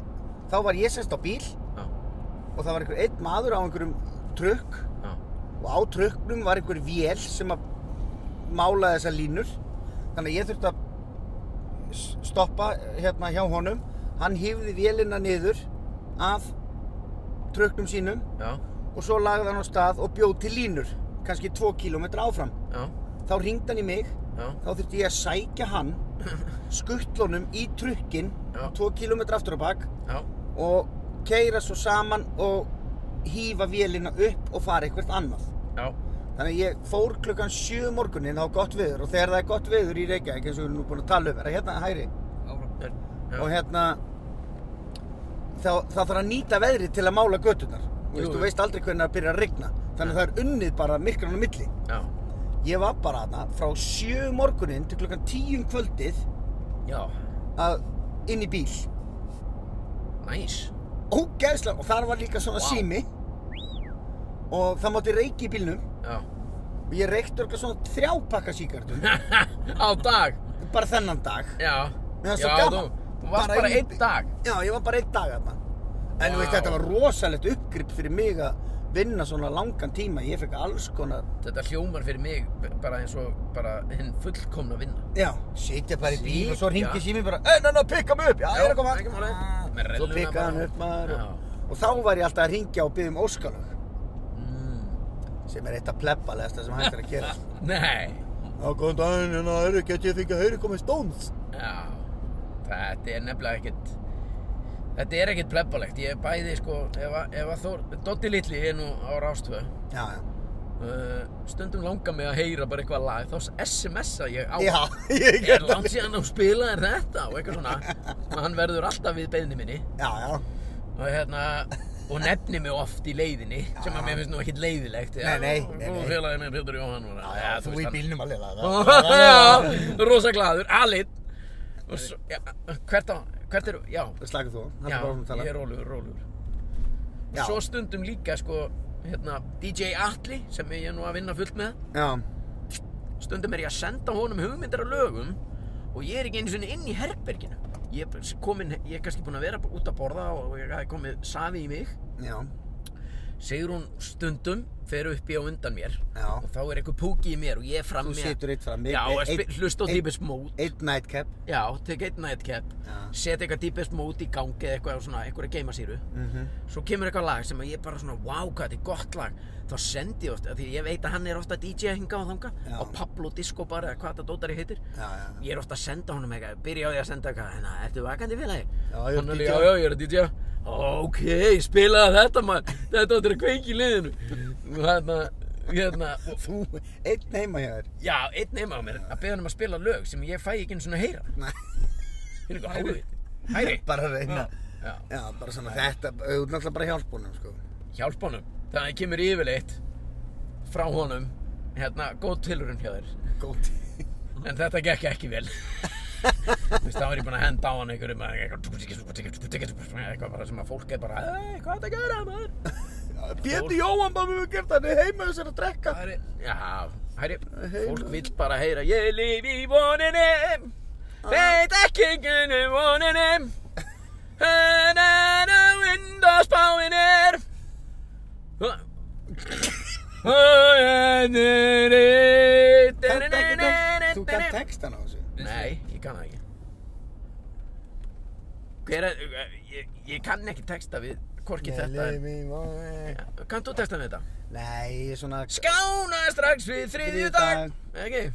S2: þá var ég semst á bíl
S1: já,
S2: og það var einhver einn maður á einhverjum trukk
S1: já,
S2: og á trukknum var einhver vél sem að málaði þessar línur þannig að ég þurfti að s- stoppa hérna hjá honum hann hýfði vélina niður af trukknum sínum
S1: já,
S2: og svo lagði hann á stað og bjóð til línur kannski 2 km áfram
S1: já,
S2: þá ringdi hann í mig
S1: já,
S2: þá þurfti ég að sækja hann skuttlunum í trukkin
S1: Já.
S2: 2 km aftur á bak
S1: já,
S2: og keira svo saman og hýfa vélina upp og fara eitthvað annað
S1: já,
S2: Þannig að ég fór klukkan um 7 morgunin á gott viður og þegar það er gott viður í Reykjavík eins og við erum nú búin að tala um, er það hérna hægri
S3: Áfram.
S1: er-
S2: og
S1: já,
S2: hérna þá, þá þarf að nýta veðrið til að mála göturnar
S1: Jú,
S2: þú veist,
S1: jú.
S2: þú veist aldrei hvernig það byrjar að rigna þannig að það er unnið bara myrkran á milli
S1: já,
S2: ég var bara þarna frá 7 morgunin til klukkan 10 um kvöldið
S1: já,
S2: að inn í bíl
S1: næs,
S2: ógeðslega og þar var líka svona
S1: Vá.
S2: sími og það mátti reiki í bílnum
S1: já,
S2: og ég reikti örgulega svona þrjápakka síkartum
S1: á dag,
S2: bara þennan dag
S1: já,
S2: Mér fannst
S1: já,
S2: svo
S1: þú,
S2: gaman.
S1: þú varst bara
S2: í-
S1: einn dag,
S2: Já, ég var bara einn dag þarna. En þú veist,
S1: Vá.
S2: þetta var rosalegt uppgrip fyrir mig að vinna svona langan tíma. Ég fekk alls konar,
S1: þetta hljómar fyrir mig b- bara eins og bara hinn fullkomna vinna.
S2: já, sitja bara í bíl
S1: Sitja.
S2: og svo ringi sími bara, ei, ná, ná, pikka mig upp, já, ég er að koma. Ah.
S1: ekki máli. Með
S2: Svo
S1: relluna
S2: pikkaði
S1: bara.
S2: hann upp maður
S1: Já.
S2: og, og þá var ég alltaf að ringja og byggja um óskalög,
S1: Mm.
S2: sem er eitt af plebbalegasta sem hægt er að gera.
S1: Nei,
S2: Já, góðan daginn, hérna, eru, get ég fengið að heyra komið stóns?
S1: já, þetta er nefnilega ekkert, þetta er ekkert plebbalegt. Ég er bæði, sko, ef að, ef að Þór, Doddi Lilli er nú á rástöðu.
S2: Já, já.
S1: Uh, stundum langar mig að heyra bara eitthvað lag, þá SMS-a ég á.
S2: Já, ég
S1: Er
S2: get það.
S1: langt síðan að spila er þetta og eitthvað svona. Þannig að hann verður alltaf við beðni minni.
S2: Já, já.
S1: og hérna og nefni mig oft í leiðinni sem að mér finnst nú ekkit leiðilegt
S2: Nei, nei, nei, nei.
S1: og félaginn er Pétur Jóhann og,
S2: Já, já, þú í bílnum alveg
S1: hann-
S2: laga.
S1: já, rosa glaður, alit og svo, já, hvert á hvert er, já,
S2: Slaka þú, hann er
S1: já
S2: bara svona að tala.
S1: ég er rólugur, rólugur
S2: Já.
S1: Svo stundum líka sko, hérna, DJ Atli sem ég er nú að vinna fullt með
S2: Já,
S1: Stundum er ég að senda honum hugmyndir af lögum og ég er ekki einu sinni inn í herberginu Ég er, bara komin, ég er kannski búinn að vera út að borða og ég hafði komið safi í mig
S2: já,
S1: Sigrún stundum fer upp í á undan mér
S2: Já.
S1: og þá er einhver púki í mér og ég er fram
S2: þú
S1: með
S2: situr eitt fram
S1: Já, að spi- hlusta á Deepest Mode
S2: Eitt nightcap
S1: Já, tek eitt nightcap
S2: Já.
S1: Set eitthvað Deepest Mode í gangi eða eitthvað svona, eitthvað að geima sýru Svo kemur eitthvað lag sem að ég bara svona, wow, hvað þetta er gott lag Þá sendi ég oft, af því ég veit að hann er ofta DJ að hinga á þanga
S2: Já.
S1: Á Pablo Disco bara, eða hvað þetta dótari heitir
S2: Já, já,
S1: Ég er ofta að senda honum eitthvað, byrja á því að senda eitthvað Hérna, ertu vakandi félagi?
S2: Já, ég er
S1: Hann
S2: DJ.
S1: Já, já, ég er að DJ Ok, spilaði þetta maður Þetta áttur að kveiki í liðinu Hérna, hérna og-
S2: Þú, einn heima hjá þér
S1: Já, einn nema á mér að beða hann um að spila lög sem ég fæ ekki einu svona að heyra
S2: Nei.
S1: Hérna eitthvað háðið Hæri
S2: Bara að reyna
S1: Já,
S2: Já, bara svona þetta, þú ert náttúrulega bara hjálpunum, sko
S1: hjálp honum Þannig að ég kemur yfirleitt frá honum Hérna, góð tilurinn hjá þér
S2: Góti
S1: En þetta gekk ekki vel Þú veist, þá er ég búinn að henda á hann einhverju með eitthvað eitthvað bara sem að fólk er bara "Æ, Hvað er þetta að gera, maður?
S2: Pétur Jóhann bara mjög gert hann er heima þessar að drekka
S1: Það er- Já, hæri Fólk vill bara heyra Ég lif í voninni
S2: Ah.
S1: Veit ekki kunni voninni En en að vindaspáin er
S2: Þetta ekki tók, þú gætt textan á þessu
S1: Nei, ég kann það ekki Hver er, uh, ég, ég kann ekki texta við Hvorki þetta
S2: Nei, nei,
S1: Kann þú texta við þetta?
S2: Nei, svona
S1: Skána strax við þriðju dag Ekki?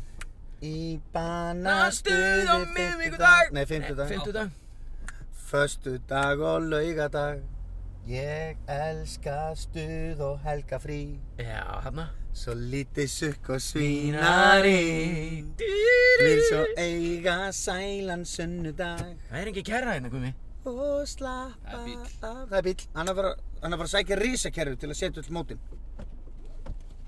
S2: Í banastuði
S1: Nastuð á miðvíkudag
S2: Nei, fymtudag
S1: Fymtudag
S2: Föstudag og laugadag Ég elska stuð og helga frí
S1: Já, hérna
S2: Svo lítið sukk og svínari Vil svo eiga sælan sunnudag
S1: Það er ekki kærra hérna, Gumi
S2: Og slappa
S3: Það er bíll.
S2: af Það er bíll Hann er bara, hann er bara að sækja risakerfi til að setja upp mótin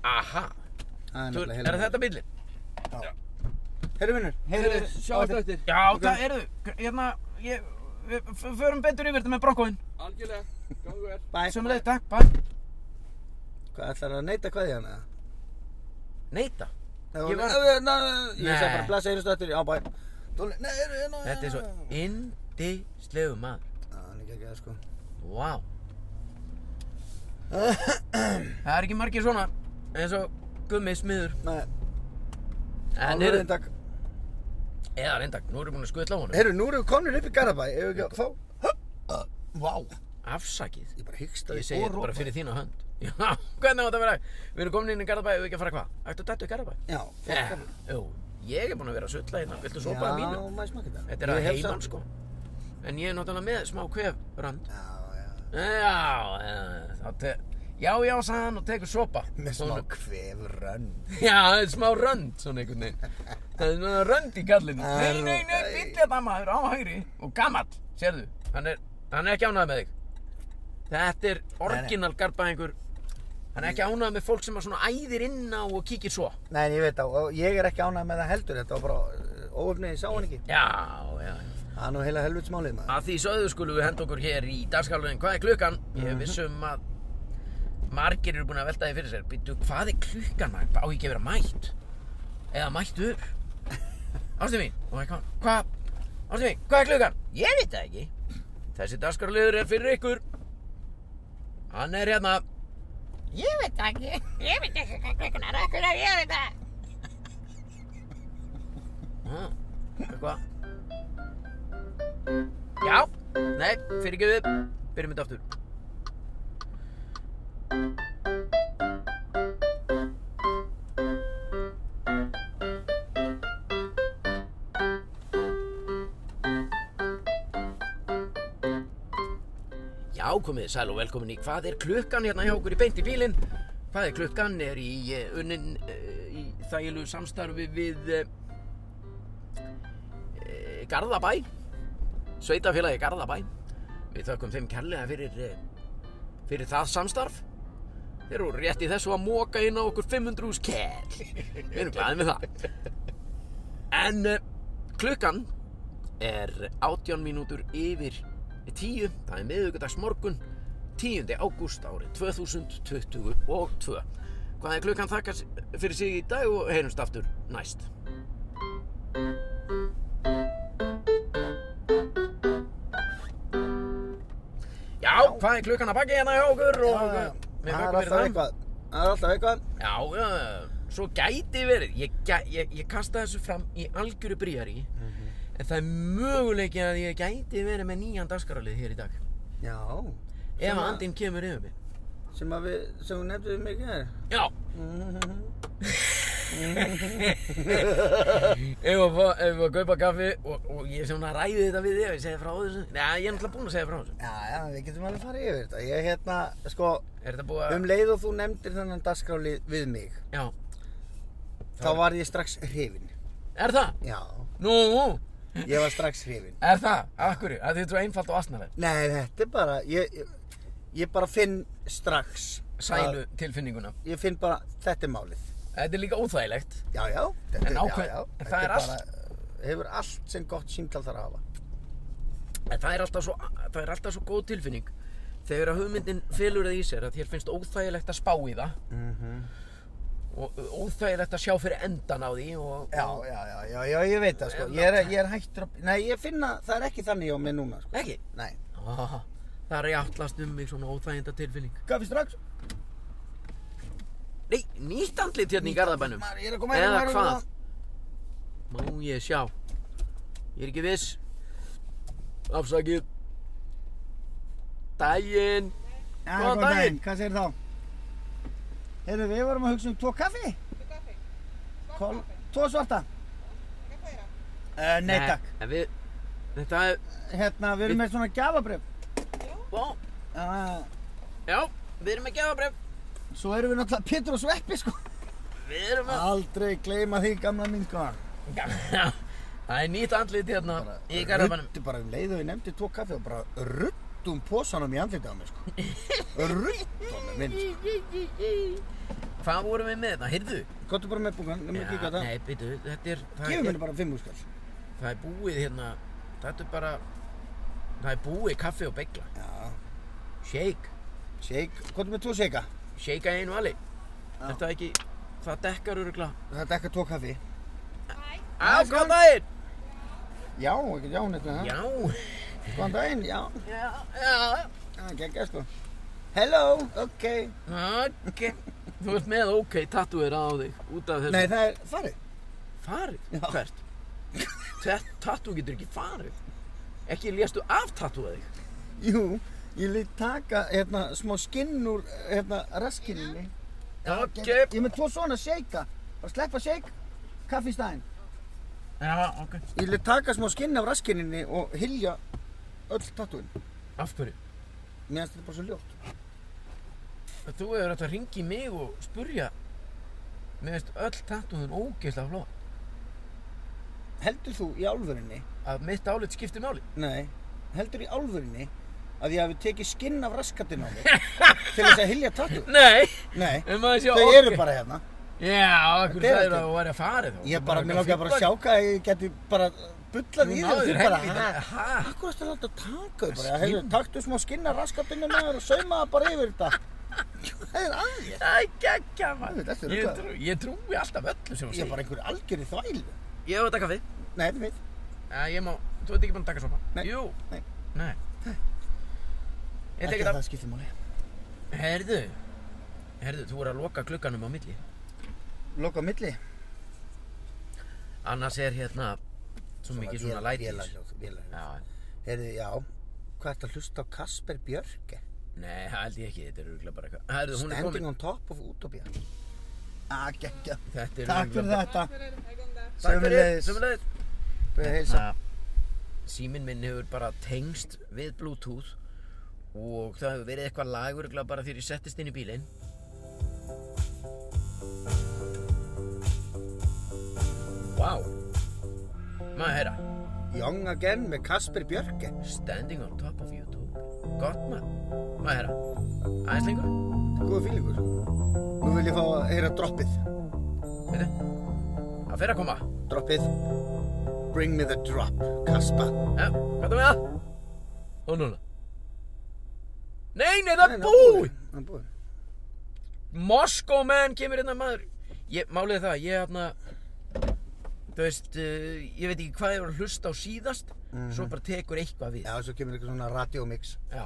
S1: Aha
S2: Það er
S1: Þú,
S2: nefnilega
S1: er þetta bíllinn?
S2: Herru vinnur, heyrðu
S3: Sjáumst eftir.
S1: Já,
S2: Ok.
S1: það eru Hérna, ég Við f- förum betur yfir þetta með brokkóin
S3: Algjörlega, gangu er.
S2: Bæ
S1: Sem leið, takk, bæ
S2: Hvað ætlar að neyta hvað í hana?
S1: Neita
S2: Það
S1: Ég
S2: var- Ég
S1: Nei.
S2: sagði bara blessa einu stöttur Já, bæ Dóli- Nei, heyrðu, hérna
S1: Þetta er svo indislegu maður
S2: Já, hann er ekki að sko
S1: Vá Það er ekki margir svona eins og gummi smiður
S2: Nei,
S1: En
S2: alveg
S1: heyrðu,
S2: reyndak
S1: eða reyndak, nú erum við búin að skutla á honum
S2: Herru, nú erum við komin upp í Garabæ Ef við ekki að fá Vá
S1: Afsakið,
S2: Ég bara hyggsta
S1: ég segi þetta bara fyrir þína hönd Já, hvernig átt að vera Við erum komin inn í Garðabæ, við ekki að fara hvað? Ættu að dættu í Garðabæ?
S2: Já,
S1: Já, jú, ég er búin að vera að sulla hérna Viltu sopa að Eh, mínu?
S2: Já, maður smakka þetta
S1: Þetta er
S2: Ég
S1: að
S2: hef
S1: heiman
S2: samt-
S1: sko En ég er náttúrulega með smá kvefrönd
S2: Já, já
S1: Já, eh, þá te- já, já, sagði hann og tekur sopa
S2: Með smá
S1: Svona-
S2: kvefrönn
S1: Já, það er smá rönd svona einhvern veginn Það er svona rönd í kallinu
S2: Það er
S1: Nei, nei,
S2: nú-
S1: nei, bíll þetta maður á hægri Og gamall, sérðu Hann er, hann er ekki ánægð með þig Þetta er orginal garbaðingur Hann er ekki ánægð með fólk sem að svona æðir inn á og kíkir svo
S2: Nei, en ég veit það og ég er ekki ánægð með það heldur Þetta var bara eh, óöfnið, ég sá hann ekki
S1: Já, já
S2: Það er nú heila helvits málið maður
S1: Að því sögðu skulum við henda okkur hér í dagskálunin Hvað er klukkan? Ég vissum að margir eru búin að velta því fyrir sér Býttu, hvað er klukkan? maður? Á ég ekki að vera mætt? Eða mættur? Ástu mín, og eitthvað Hvað? Ástu mín, hvað er klukkan? Ég veit það ekki Þessi dagskáluður er fyrir ykkur Hann er hérna
S4: Ég veit það ekki, ég veit ekki hvað klukkan er, akkur er ég veit það.
S1: Ha, Eitthvað Já, nei, fyrir ekki við Byrjum þetta aftur Já, komið þið sæl og velkomin í Hvað er klukkan hérna hjá okkur í beint í bílinn? Hvað er klukkan? Er í eh, unnin eh, í þægilegu samstarfi við eh, eh, Garðabæ Sveitafélagi Garðabæ Við þökkum þeim kærlega fyrir eh, fyrir það samstarf Þeir eru rétt í þessu að móka inn á okkur 500 hús kell Við erum glæðið með það En eh, klukkan er 18 mínútur yfir 10 Það er miðvikudags morgun 10. ágúst árið 2022. Hvað er klukkan þakkar fyrir sig í dag og heyrumst aftur næst. Já, hvað er klukkan að baki hérna hjá okkur og
S2: Það
S1: uh, við
S2: það er
S1: þökkum fyrir
S2: alltaf
S1: það.
S2: eitthvað. Það er alltaf eitthvað.
S1: Já, uh, svo gæti verið. Ég, gæ, ég, ég kasta þessu fram í algjöru bríari. En það er möguleiki að ég gæti verið með nýjan dagskrálið hér í dag.
S2: Já.
S1: Ef
S2: Sem
S1: að
S2: að-
S1: andinn kemur yfir mig.
S2: Sem að við, sem við nefndum mig ekki þær.
S1: Já. ef að fá- ef að kaupa kaffi og, og ég svona ræði þetta við þig og ég segi frá þessu. Nei, ég er náttúrulega búinn að segja frá þessu.
S2: Já, já, við getum alveg farið yfir þetta. Ég hérna, sko,
S1: Er þetta búið að...
S2: um leið og þú nefndir þennan dagskráli við mig,
S1: Já.
S2: þá var ég strax hrifin.
S1: Er það?
S2: Já,
S1: Nú,
S2: ég var strax hrifin.
S1: er það? Akkurri, að þið er svo einfalt og asnaleg.
S2: Nei, þetta er bara, ég, ég- ég bara finn strax.
S1: Sælu
S2: að-
S1: tilfinninguna.
S2: Ég finn bara, þetta er málið.
S1: Þetta er líka óþægilegt.
S2: Já, já. Þetta,
S1: En
S2: er-
S1: ákveð-
S2: já, já,
S1: en það
S2: þetta
S1: er allt-
S2: bara- Hefur allt sem gott símtal þarf að hafa.
S1: En það er alltaf svo, það er alltaf svo góð tilfinning þegar að hugmyndin felur það í sér að þér finnst óþægilegt að spá í það Mhm. og óþægilegt að sjá fyrir endan á því og,
S2: Já,
S1: og
S2: já, já, já, já, ég veit það, sko. Ég er, ég er hættur að... Nei, ég finna, það er ekki þannig á mig núna, sko.
S1: ekki
S2: Nei.
S1: ah, það er játtlast um mig svona óþæginda tilfinning
S2: Kaffi strax.
S1: nei, nýtt andlit hérna í Garðabænum
S2: Maður, ég er að koma
S1: Eða
S2: maður er að
S1: hvað?
S2: koma.
S1: má ég sjá ég er ekki viss afsakið daginn
S2: Já,
S1: Góðan
S2: góðan daginn.
S1: daginn.
S2: Hvað segir þá? Heyrðu, við vorum að hugsa um tvo kaffi. Kol, tvo svarta. Uh, nei, takk.
S1: en við, þetta er
S2: Hérna, við erum með svona gjafabrif.
S1: ó,
S2: Uh,
S1: já, við erum að gefa bref
S2: svo erum við náttúrulega Pétur og Sveppi, sko.
S1: við erum að
S2: Aldrei gleyma því, gamla mín, sko.
S1: Já, það er nýtt andlit hérna í garðabænum.
S2: Ruddu bara um leið og ég nefndi tvo kaffi og bara ruddum posanum í andlitið á mig sko. Ruddum minn sko.
S1: Hvað vorum við með þetta? Heyrðu?
S2: Kottu bara með búkan, nefnum ekki hvað það.
S1: nei, byrju, þetta er, það
S2: Gefum
S1: er,
S2: henni bara fimm úrskall.
S1: það er búið hérna, þetta er bara, það er búið kaffi og begla.
S2: Já,
S1: Shake,
S2: shake, kottu með tvo shakea.
S1: shake að einu vali.
S2: Já.
S1: Þetta ekki, það dekkar örugla.
S2: Það er ekki tvo kaffi.
S1: Á, góðan daginn!
S2: Já, ekki já neitt með það.
S1: Já,
S2: Góðan daginn, já.
S1: já, já,
S2: Það er geggja sko. Hello, ok.
S1: ok. Þú ert með ok, tattúir á þig, út af þessu.
S2: Nei, það er farið.
S1: Farið?
S2: Já.
S1: Hvert? Þetta tattú getur ekki farið. Ekki léstu af tattúið þig.
S2: Jú, ég lít taka hérna smá skinn úr hérna raskininni.
S1: Ok.
S2: Ég er með tvo svona shakea. Bara sleppa shake, kaffi í staðinn.
S1: Já, ok.
S2: Ég vil taka smá skinn af raskininni og hilja öll tattúin.
S1: Af hverju?
S2: Mér finnst þetta bara svo ljótt.
S1: Þú hefur átt að ringi mig og spurja Mér veist öll tattúðun ógeðslega flott
S2: Heldur þú í álfurinni,
S1: Að mitt álit skiptir máli
S2: nei, heldur í álfurinni að ég hafi tekið skinn af raskatinn á mig til þess að hilja tattúin?
S1: Nei,
S2: Nei,
S1: um að sjá
S2: þau eru bara hérna.
S1: Já, okkur
S2: Þetta er
S1: sagðir
S2: ekki-
S1: að þú væri að fara þá
S2: Ég bara, mér langar bara að sjá hvað ég geti bara bullað í
S1: Þú
S2: þau og
S1: náður
S2: þú bara,
S1: helvíti,
S2: hæ?
S1: ha?
S2: Akkur ertu alltaf að taka þau bara? Heyrðu, taktu smá skinn af raskatinn á mig og sauma það bara yfir þetta. Það er aðeins.
S1: Það er geggja
S2: Þetta er
S1: maður Ég
S2: ruglað.
S1: trú- Ég trúi alltaf öllu sem þú
S2: Ég er
S1: segir
S2: bara einhverju algjörði þvælu.
S1: Ég hef að taka kaffi
S2: Nei, þetta er mitt.
S1: Já, Eh, ég má Þú ert ekki búin að taka sopa
S2: Nei.
S1: Jú
S2: Nei.
S1: Nei Ég tek
S2: Ekki að
S1: þetta
S2: það skiptir máli.
S1: Herðu Herðu, þú er að loka klukkanum á milli
S2: Loka á milli.
S1: Annars er hérna Svo mikið svona lætis
S2: lætis
S1: Já,
S2: Heyrðu, já, hvað ert að hlusta á Kasper Björke?
S1: Nei, það held ég ekki, þetta er örgulega bara eitthvað Herðu, hún er
S2: Standing
S1: komin
S2: on top of Utopia Ah, geggja
S1: Þetta er
S2: Takk fyrir
S1: örugglega
S2: þetta
S1: bara- Takk fyrir,
S2: Sömuleiðis
S1: sömulegis
S2: Bauð heilsa
S1: Síminn minn hefur bara tengst við Bluetooth Og það hefur verið eitthvað lag örgulega bara þegar ég settist inn í bílinn Vá Má að heyra
S2: Young Again með Kasper Björke
S1: Standing on top of YouTube Gott maður Má að heyra Aðeins lengur
S2: Góðu fílingur Nú vil ég fá að heyra droppið
S1: Veitu Það fer að koma
S2: Droppið Bring me the drop, Kaspa
S1: Já, hvað er það með það? Og núna Nei, nei, það er
S2: Nei, nei,
S1: búið
S2: Það er búið.
S1: Moskó menn kemur hérna maður ég, Málið er það, ég hérna Þú veist, uh, ég veit ekki hvað ég var að hlusta á síðast Svo bara tekur eitthvað við
S2: Já, svo kemur eitthvað svona radiomix.
S1: Já.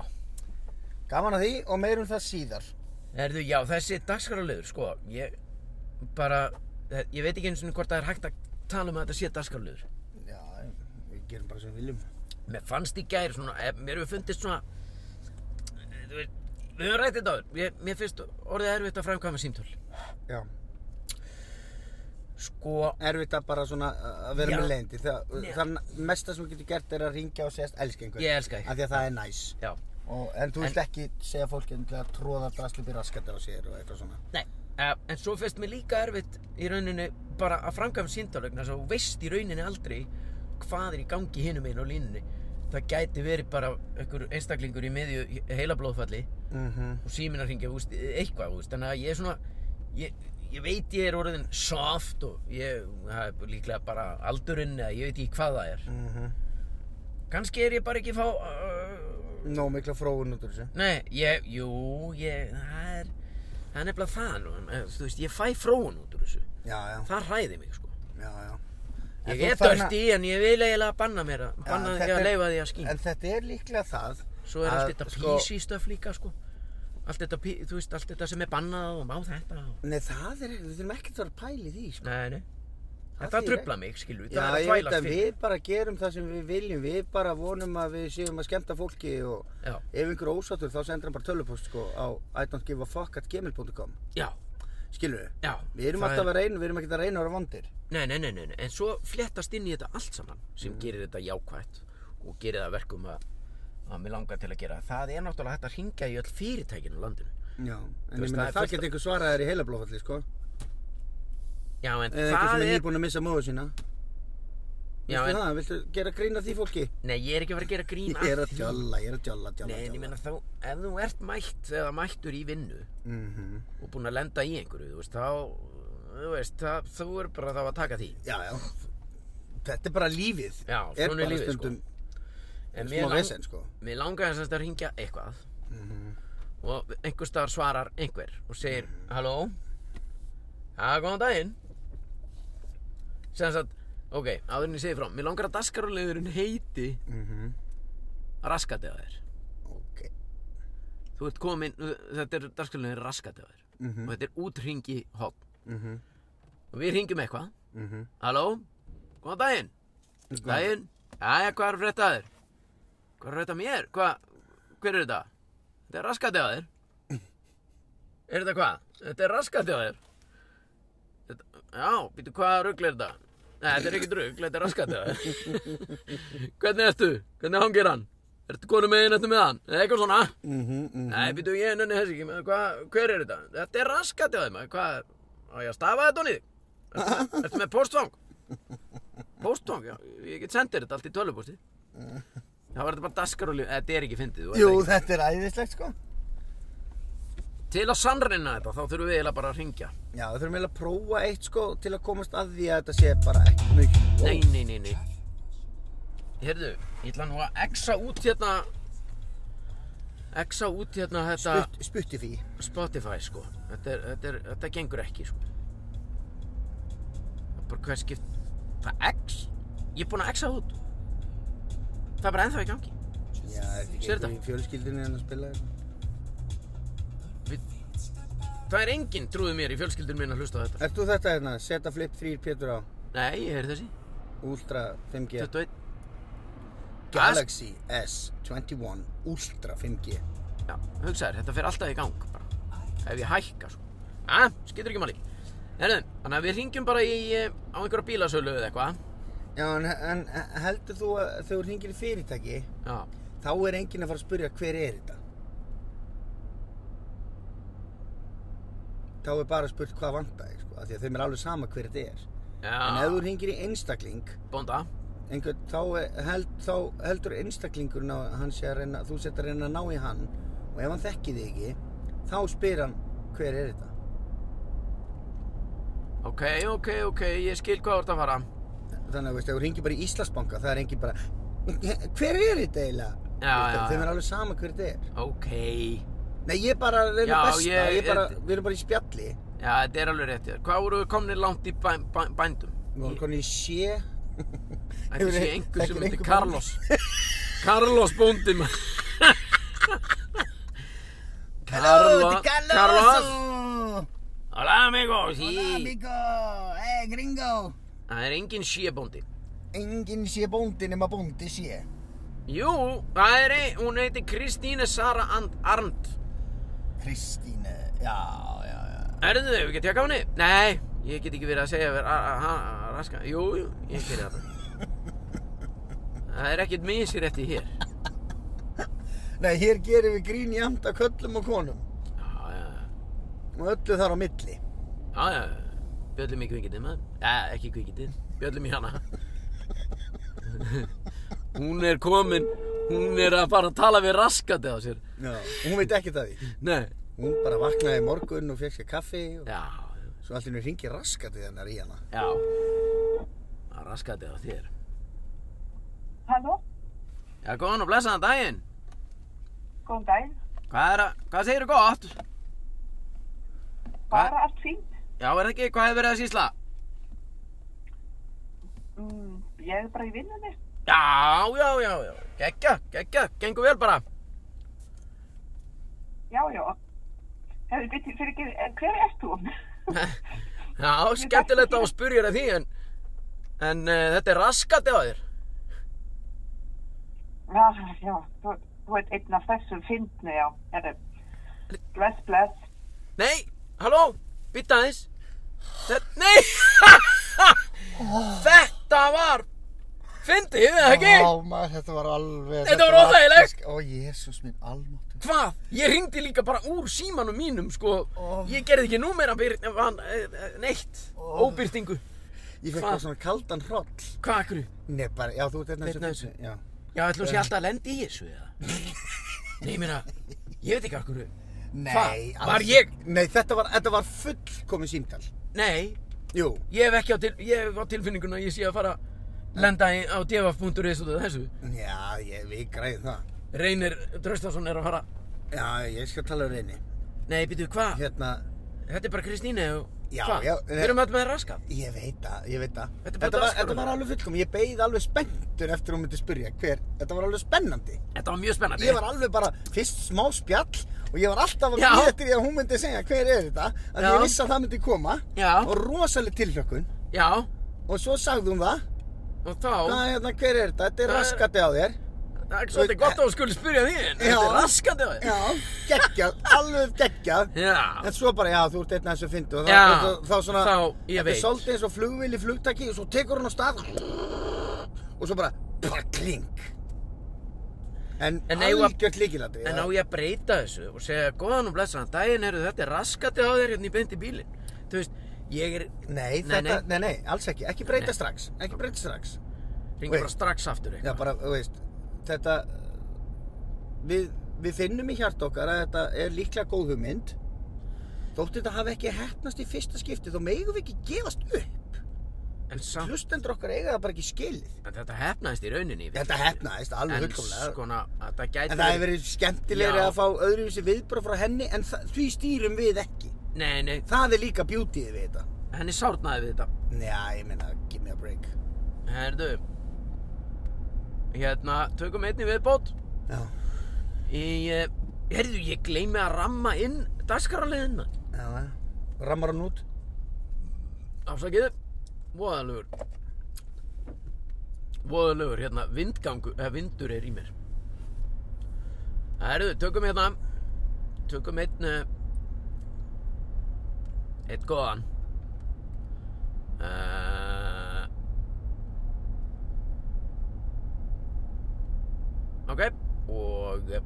S2: Gaman að því og meir um það síðar.
S1: Herðu, já, þessi dagskráliður, sko, ég bara, eh, ég veit ekki eins og hvort það er hægt að tala um að þetta sé dagskráliður.
S2: Já, við gerum bara sem við viljum.
S1: Mér fannst í gær svona, eh, mér hefur fundist svona, eh, þú veist, við höfum rætt þetta áður, mér, mér finnst orðið erfitt að framkvæma símtöl.
S2: Já.
S1: Sko,
S2: Erfitt að bara svona uh, að vera
S1: Já.
S2: með leiðindi. Það, uh,
S1: Já.
S2: það mesta sem við getum gert er að ringja og segjast elska einhvern.
S1: Ég elska þig.
S2: Af því að það er næs.
S1: já,
S2: Og, en þú vilt ekki segja fólki um til að tróða draslu býr raskatar á sér og eitthvað svona.
S1: nei, eh, en svo finnst mér líka erfitt í rauninni bara að framkvæma símtöl, vegna þess að þú veist í rauninni aldrei hvað er í gangi hinum einu og línunni. Það gæti verið bara einhver einstaklingur í miðju heilablóðfalli
S2: Mm -hmm.
S1: og síminn að hringja, þú veist, eitthvað, þú veist, þannig að ég er svona, ég, ég veit ég er orðin soft og ég, það er líklega bara aldurinn eða ég veit ekki hvað það er.
S2: Mm
S1: Kannski er ég bara ekki að fá, uh,
S2: Nó mikla fróðun út úr þessu.
S1: nei, ég, jú, ég, það er, það er nefnilega það nú, en, eh, þú veist, ég fæ fróun út úr þessu,
S2: Já, já,
S1: það hræði mig, sko.
S2: já, já. En
S1: Ég
S2: þú
S1: er
S2: ert farin að-
S1: dörti en ég vil eiginlega banna mér að, banna
S2: þetta
S1: því að
S2: er-
S1: leifa því að skýna.
S2: En þetta er líklega það
S1: Svo er allt
S2: að,
S1: þetta
S2: sko,
S1: písi stöf líka, sko. Allt þetta, pí- þú veist, allt þetta sem er bannað og má þetta og...
S2: Nei, það er, við þurfum ekkert að vera að pæla í því, sko.
S1: Nei, nei.
S2: Það
S1: En það
S2: þýðir
S1: trubla mig, skilur við. Það er
S2: Já, ég
S1: að
S2: veit
S1: þvælast
S2: að
S1: fyrir.
S2: við bara gerum það sem við viljum, við bara vonum að við séum að skemmta fólki og
S1: Já,
S2: ef einhver er ósáttur þá sendur hann bara tölupost, sko, á idontgiveafuck.gmail.com,
S1: já,
S2: skilur við?
S1: já.
S2: Við erum
S1: það
S2: alltaf að reyna, við erum ekkert að reyna að vera vondir.
S1: Nei, nei, nei, nei, nei. En svo fléttast inn í þetta allt saman sem gerir þetta jákvætt og gerir það að verkum að, að mér langar til að gera. Það er náttúrulega hægt að hringja í öll fyrirtækin á landinu.
S2: Já, en
S1: veist, það
S2: ég meina
S1: er
S2: það
S1: fullt
S2: getur einhver svarað þér í heila blófalli, sko.
S1: Já, en
S2: Eða einhver
S1: það
S2: sem er
S1: er...
S2: nýbúin að missa móðu sína.
S1: Já,
S2: Vistu
S1: en...
S2: það, viltu gera grína því fólki?
S1: Nei, ég er ekki að vera að gera grín
S2: Ég er að djalla, ég er að djalla, djalla,
S1: Nei, en ég
S2: djalla.
S1: meina þá, ef þú ert mætt eða mættur í vinnu
S2: Mhm.
S1: og búinn að lenda í einhverju, þú veist, þá, þú veist, það, þú er bara þá að taka því.
S2: Já, já. Þetta er bara lífið.
S1: Já, svona er
S2: er bara
S1: lífið, sko.
S2: stundum
S1: En
S2: smá
S1: mér lang-
S2: vesen, Mhm. sko.
S1: Mér langaði semst að ringja eitthvað og einhver staðar svarar einhver og segir Halló? Já, góðan daginn Semst að, ok, áðurinn ég segi frá Mér langar að daskarulegurinn heiti
S2: Mm
S1: Raskadeðaðir
S2: Ok.
S1: Þú ert komin, þetta er daskarulegurinn Raskadeðaðir
S2: Mhm.
S1: og þetta er útringi hotn
S2: Mm -hmm.
S1: og við ringjum eitthvað
S2: Mm -hmm.
S1: Halló? Góðan daginn Daginn? Jæja, hvað er að frétta af þér? Hvað er að frétta af mér? Hvað, hver er þetta? Þetta er raskati á þér Er þetta hvað? Þetta er raskati á þér þetta, Já, býtu hvað rugl er þetta? Nei, þetta er ekki rugl, þetta er raskati á þér Hvernig ertu? Hvernig hangir hann? Ertu konu með einu með hann? Eða eitthvað svona?
S2: Mm -hmm.
S1: Nei, býtu ég nenni þess ekki, maður, hvað, hver er þetta? Þetta er raskati á þeim, maður, hvað, á ég að stafa þetta honið? Ertu ertu með póstfang? Póstfang, já, ég get sendir þetta allt í tölvupósti. Það var þetta bara daskaróli, þetta er ekki fyndið. þú ert
S2: Jú,
S1: ekki-
S2: þetta er æðislegt, sko.
S1: Til að sannreina þetta, þá þurfum við eiginlega bara að ringja.
S2: Já, við þurfum eiginlega að prófa eitt, sko, til að komast að því að þetta sé bara ekki mjög.
S1: Nei, nei, nei, nei. Heyrðu, ég ætla nú að exa út hérna, exa út hérna þetta
S2: Sputt, sputti því.
S1: Spotify, sko. Þetta, er, þetta, er, þetta gengur ekki, sko. Það er bara hver skipt... Það X? Ég er búinn að X-a það út. Það er bara ennþá í gangi.
S2: Já, er þetta ekki
S1: Sérðu
S2: einhver í fjölskyldinni en að spila hérna? þetta?
S1: Við... Það er enginn, trúðu mér, í fjölskyldun minn að hlusta á þetta.
S2: Ert þú þetta hérna, Zeta Flip 3 Pétur á
S1: Nei, ég heyri þessi.
S2: Ultra 5G?
S1: 21.
S2: Galaxy S21 Ultra 5G.
S1: Já, hugsaður, þetta fer alltaf í gang bara. Ef ég hækka, sko. Æ, skilur ekki máli. Herðu, þannig að við ringjum bara í, eh, á einhverja bílasölu eða eitthvað.
S2: Já, en, en heldur þú að þegar þú hringir í fyrirtæki,
S1: Já.
S2: þá er enginn að fara að spyrja hver er þetta? Þá er bara spurt hvað vantar þig, sko, af því að þeim er alveg sama hver þetta er. En ef þú
S1: Já,
S2: hringir í einstakling,
S1: bónda.
S2: einhver, þá, er- held, þá heldur einstaklingurinn að hann sé að reyna, þú sett að reyna að ná í hann og ef hann þekki þig ekki, þá spyr hann hver er þetta?
S1: Ok, ok, ok, ég skil hvað þú ert að fara.
S2: Þannig að veist, ef þú hringir bara í Íslandsbanka, það er enginn bara, hver er þetta eiginlega?
S1: Já, já,
S2: Þeim
S1: já.
S2: er alveg sama hver þetta er.
S1: Ok.
S2: Nei, ég bara reynir
S1: Já,
S2: besta.
S1: ég-
S2: Ég, bara,
S1: ég-
S2: við erum bara í spjalli.
S1: Já, þetta er alveg rétt hjá. þér. Hvað voru við komnir langt í bæ, bæ, bændum?
S2: Við erum konið í sé.
S1: Þetta sé
S2: Hefur-
S1: einhver sem
S2: þekkir
S1: heitir
S2: einhver
S1: Carlos. Carlos bóndi maður. Carlo-
S2: Carlos.
S1: Hola amigos. sí.
S2: Hola, amigo. Hey, gringo.
S1: Það er engin sjébóndi.
S2: Engin sé bóndi nema bóndi sé.
S1: Jú, það er ein, hún heitir Kristíne Sara And Arndt.
S2: Kristíne. Já, eh, já, já.
S1: Erðu þau, get ég að gafa henni? Nei, ég get ekki verið að segja verið að hann raska. Jú, jú, ég get það. Það er ekkert misir eftir hér.
S2: Nei, hér gerum við grín í anda köllum og konum.
S1: Já, já, já.
S2: Og öllu þar á milli.
S1: Já, já, já. bjöllum í kvikindin maður. Já, ekki kvikindin, bjöllum í hana. hún er komin, hún er að fara að tala við raskandi á sér.
S2: Já. Og hún veit ekkert að því.
S1: Nei.
S2: Hún bara vaknaði í morgun og fekk sér kaffi og
S1: Já,
S2: svo allir henni ringi raskat við hennar í hana.
S1: já. Það er raskandi á þér.
S5: Halló,
S1: Já, góðan og blessaðan daginn.
S5: góðan daginn.
S1: Hvað er að, hvað segirðu gott?
S5: Bara allt fínt.
S1: Já, er það ekki, hvað hefur verið að sýsla?
S5: Mm, ég er bara í vinnunni.
S1: Já, já, já, já. Gekka, gekka, gengur vel bara.
S5: Já, já. Hefur byttið fyrir ekki, hver ert þú?
S1: Já, skemmtilegt að spyrja þér að því, en, en uh, þetta er raskandi á þér.
S5: já, já, þú, þú ert einn af þessum fyndni, já. Herri, bless, bless.
S1: Nei, halló, býta aðeins Þetta, nei Þetta var Fyndið, eða ekki?
S2: maður, þetta var alveg...
S1: Þetta var óþægilegt.
S2: allt- Ó, Jésús minn, almáttu.
S1: Hvað? Ég ringdi líka bara úr símanum mínum, sko
S2: Ó.
S1: Ég gerði ekki númer að byrja van, eh, eh, Neitt,
S2: Ó.
S1: óbyrtingu
S2: Ég fekk
S1: Hvað?
S2: bara svona kaldan hroll.
S1: Hvað akkur?
S2: Nei, bara, já, þú ert hérna
S1: Hérna
S2: þessu. Já.
S1: Já, ætlum sé alltaf að lendi í þessu, eða Nei, ég meina, ég veit ekki akkur
S2: Nei,
S1: Hvað?
S2: alls
S1: Var ég-
S2: ekki. Nei, þetta var, þetta var fullkomin símtal.
S1: Nei,
S2: Jú.
S1: ég hef ekki á, til, ég hef á tilfinninguna að Ég sé að fara að lenda í, á df.is út af þessu
S2: Já, ég, við græðum það.
S1: Reynir Draustason er að fara
S2: Já, ég skal tala um reyni.
S1: Nei, býtu, hvað?
S2: Hérna,
S1: Þetta er bara Kristíne og
S2: Já,
S1: hvað?
S2: já, eh,
S1: Við erum öll með raskat.
S2: ég veit það, ég veit það.
S1: Þetta er bara
S2: Þetta var,
S1: dagskráin.
S2: þetta var alveg fullkomin. Ég beið alveg spenntur eftir hún myndi spyrja hver. Þetta var alveg spennandi.
S1: Þetta var mjög spennandi.
S2: Ég var alveg bara fyrst smá spjall og ég var alltaf að
S1: Já.
S2: býða eftir því að hún myndi segja hver er þetta. Þannig
S1: Já.
S2: ég vissi að það myndi koma.
S1: Já.
S2: Og rosaleg tilhlökkun.
S1: Já,
S2: Og svo sagði hún það.
S1: og þá,
S2: Það er hérna, hver er þetta? Þetta er
S1: Það er-
S2: raskati á þér.
S1: það er ekki svolítið gott að þú skulle spyrja því, en
S2: Já.
S1: þetta er raskandi á þér.
S2: Já, geggjað, alveg geggjað.
S1: Já,
S2: En svo bara, já, þú ert einn af þessu fyndu og þá,
S1: Já,
S2: þá, þá svona,
S1: þá, ég
S2: þetta
S1: veit.
S2: er svolítið eins og flugvili flugtaki og svo tekur hún á stað og svo bara, bara kling. En,
S1: En
S2: en
S1: eigum að-
S2: algjört líkilatri.
S1: en á ég að breyta þessu og segja, góðan og blessaðan, daginn eru þetta er raskandi á þér hérna í beint í bílinn. Þú veist, ég er, Nei,
S2: Nei, þetta, nei, nei, alls ekki, ekki breyta strax, ekki breyta strax.
S1: ringi
S2: Wait.
S1: bara strax aftur
S2: Já,
S1: eitthvað.
S2: bara, þú veist, þetta, við, við finnum í hjart okkar að þetta er líklega góð hugmynd. Þótt þetta hafi ekki hefnast í fyrsta skipti, þá megum við ekki gefast upp.
S1: En samt,
S2: Hlustendur okkar eiga það bara ekki skilið.
S1: en þetta hefnaðist í rauninni. við-
S2: Þetta hefnaðist alveg
S1: En
S2: hugskulega.
S1: skona, þetta gæti
S2: En það hefur verið skemmtilegri
S1: Já.
S2: að fá öðruvísi viðbröð frá henni en það, því stýrum við ekki.
S1: Nei, nei,
S2: Það er líka beautyið við þetta.
S1: henni sárnaði við þetta.
S2: Njá, ég meina, give me a break.
S1: Herðu, hérna, tökum einni viðbót.
S2: Já,
S1: Í, eh, heyrðu, ég gleymi að ramma inn dagskrarliðin maður.
S2: já, já. Rammar hann út.
S1: Afsakið, voðalegur. Voðalegur, hérna, vindgangu, eða vindur er í mér. Herðu, tökum hérna, tökum einn, eh, einn góðan. Uh, ok, og... eh,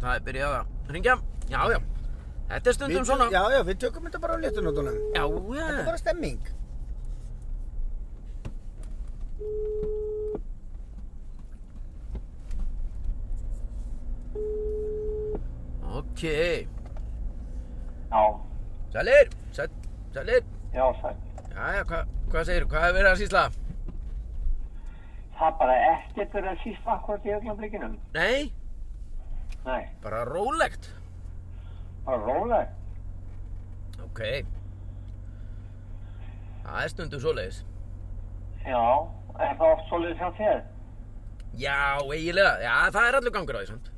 S1: Það er byrjað að ringja. Já, já. Þetta er stundum
S2: Við-
S1: svona.
S2: Já, já, við tökum þetta bara á léttunótunum.
S1: Já,
S2: Þetta er
S1: já.
S2: bara stemming.
S1: Ok.
S6: Já,
S1: Sælir, sæl, sælir.
S6: já, sæl.
S1: Já, já, hva, hvað segirðu? Hvað hefur verið að sýsla?
S6: það bara ekkert verið að sýsla akkurat í öllum blikinum.
S1: Nei,
S6: Nei,
S1: bara rólegt.
S6: bara róleg.
S1: Ok. Það er stundum svoleiðis.
S6: Já, er það oft svolítið hjá þér?
S1: Já, eiginlega. Já, það er allur gangur á því samt.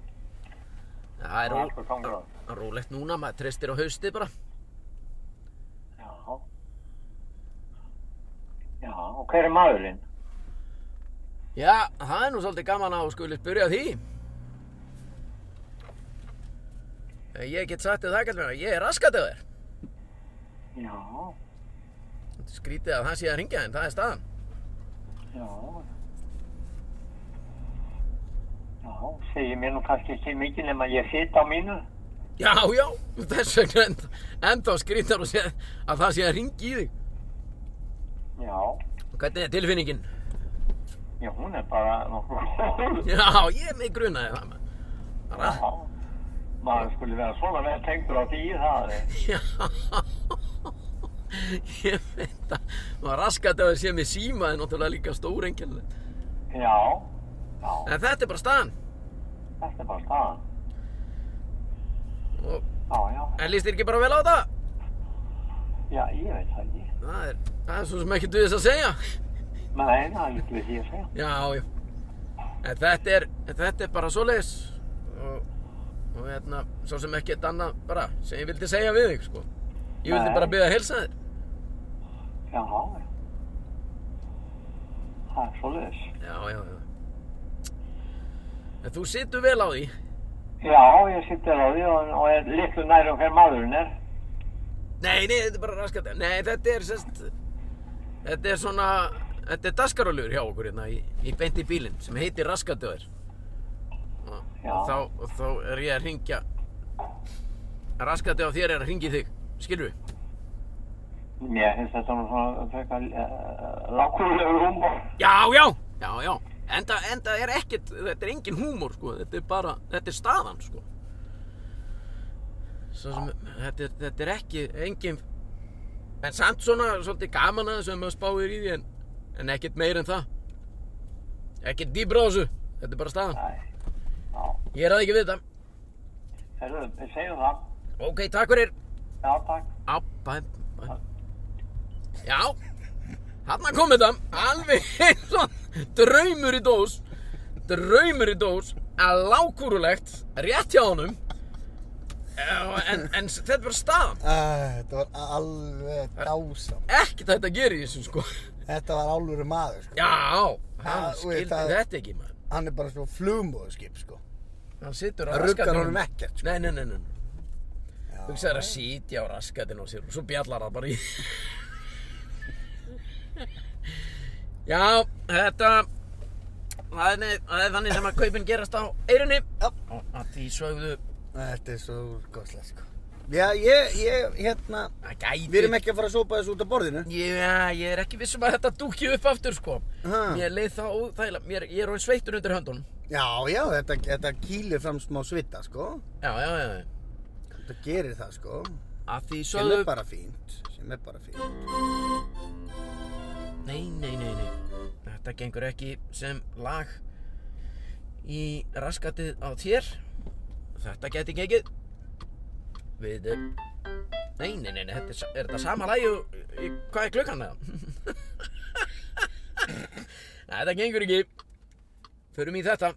S1: Það er
S6: allur gangur á því.
S1: Það er rólegt núna, maður treystir á haustið bara.
S6: Já. Já, og hver er maðurinn?
S1: Já, það er nú svolítið gaman að skuli spyrja að því. Ég get sagt þér það, kallum hérna, ég er raskat af þér.
S6: Já,
S1: Þetta er Skrítið að það sé að ringja þeim, það er staðan.
S6: já. Já, segir mér nú kannski ekki mikið nema ég sit á mínu.
S1: Já, já, þess vegna enda, enda skrítar og sé að það sé að ringi í þig.
S6: Já,
S1: Hvernig er tilfinningin?
S6: já, hún er bara nokkuð góð.
S1: Já, ég mig grunaði það, maður. Ra-
S6: Já, maður skulle vera svona vel tengdur á því það er.
S1: Já, ég veit að maður raskat að það sé með síma er náttúrulega líka stór engjörlega.
S6: Já, já,
S1: En þetta er bara staðan.
S6: þetta er bara staðan.
S1: Og,
S6: Já, já,
S1: en líst þér ekki bara vel á þetta?
S6: já, ég veit það ekki.
S1: Það er, það er svo sem ekkert við þess að segja.
S6: Nei, það er lítið við því að segja.
S1: Já, já. En þetta er, en þetta er bara svoleiðis. Og, og hérna, svo sem ekkert annað bara sem ég vildi segja við þig, sko. Ég vildi
S6: Nei.
S1: bara byggja að helsa þér.
S6: Já, já. Það er svolítið.
S1: Já, já, já. En þú situr vel á því.
S6: Já, ég sittir á því og, og er litlu nær um hver maðurinn er.
S1: Nei, nei, þetta er bara raskat Nei, þetta er sérst Þetta er svona Þetta er daskaralur hjá okkur hérna í, í beint í bílinn sem heitir raskatöður og,
S6: Já.
S1: og, þá, og þá er ég að ringja Raskatöð á þér er að ringi þig Skilur við?
S6: Mér finnst þetta nú svona frekar uh, lákulegur húmor.
S1: Já, já, já, já Enda, enda er ekkert, þetta er engin húmor sko Þetta er bara, þetta er staðan sko Svo sem, þetta er, þetta er ekki, engin En samt svona, svolítið gaman að þessu ef maður spáir í því en, en ekkert meir en það. Ekkert dýbra á þessu. Þetta er bara staðan.
S6: Nei, já.
S1: Ég er að ekki við þetta.
S6: Herru, við segjum það.
S1: Ok, takk fyrir.
S6: Já, takk.
S1: Á, bæ, bæ. Já, hann kom þetta. Alveg eins og draumur í dós. Draumur í dós. Að lágkúrulegt. Rétt hjá honum. Eh, En, en þetta er bara staðan.
S2: Æ, Ah, þetta var alveg dásam.
S1: Ekkert hægt að gera í þessu sko.
S2: Þetta var álfur maður, sko.
S1: Já, hann
S2: Það- Ah, þú veist,
S1: skildi
S2: það-
S1: þetta ekki maður.
S2: Hann er bara svo flugmóðuskip, sko.
S1: Hann situr á
S2: Það ruggar
S1: raskatinum.
S2: honum ekkert, sko.
S1: Nei, nei, nei, nei. Þú veist það er að sitja á raskatinn á sér og svo bjallar það bara í. Já, þetta, það er, nei- það er þannig sem að kaupin gerast á eirunni.
S2: Já.
S1: Og að því sögðu,
S2: Þetta er svo góðslega, sko. Já, ég, ég, hérna,
S1: það gæti.
S2: við erum ekki að fara að sópa þessu út af borðinu.
S1: Já, ég er ekki viss um að þetta dúkki upp aftur, sko.
S2: Ha.
S1: Mér leið það óþægilega, mér, ég er orðin sveittur undir höndunum.
S2: Já, já, þetta, þetta kýlir fram smá svita, sko.
S1: Já, já, já, já.
S2: Þetta gerir það, sko.
S1: Að því
S2: Sem
S1: sögðu...
S2: er bara fínt, sem er bara fínt.
S1: Nei, nei, nei, nei. Þetta gengur ekki sem lag í raskatið á þér. Þetta geti gengið. Við... eh, Nei, nei, nei, nei, þetta er, sa- er þetta sama lagi og... í- Hvað er klukkan það? Nei, þetta gengur ekki. Förum í þetta.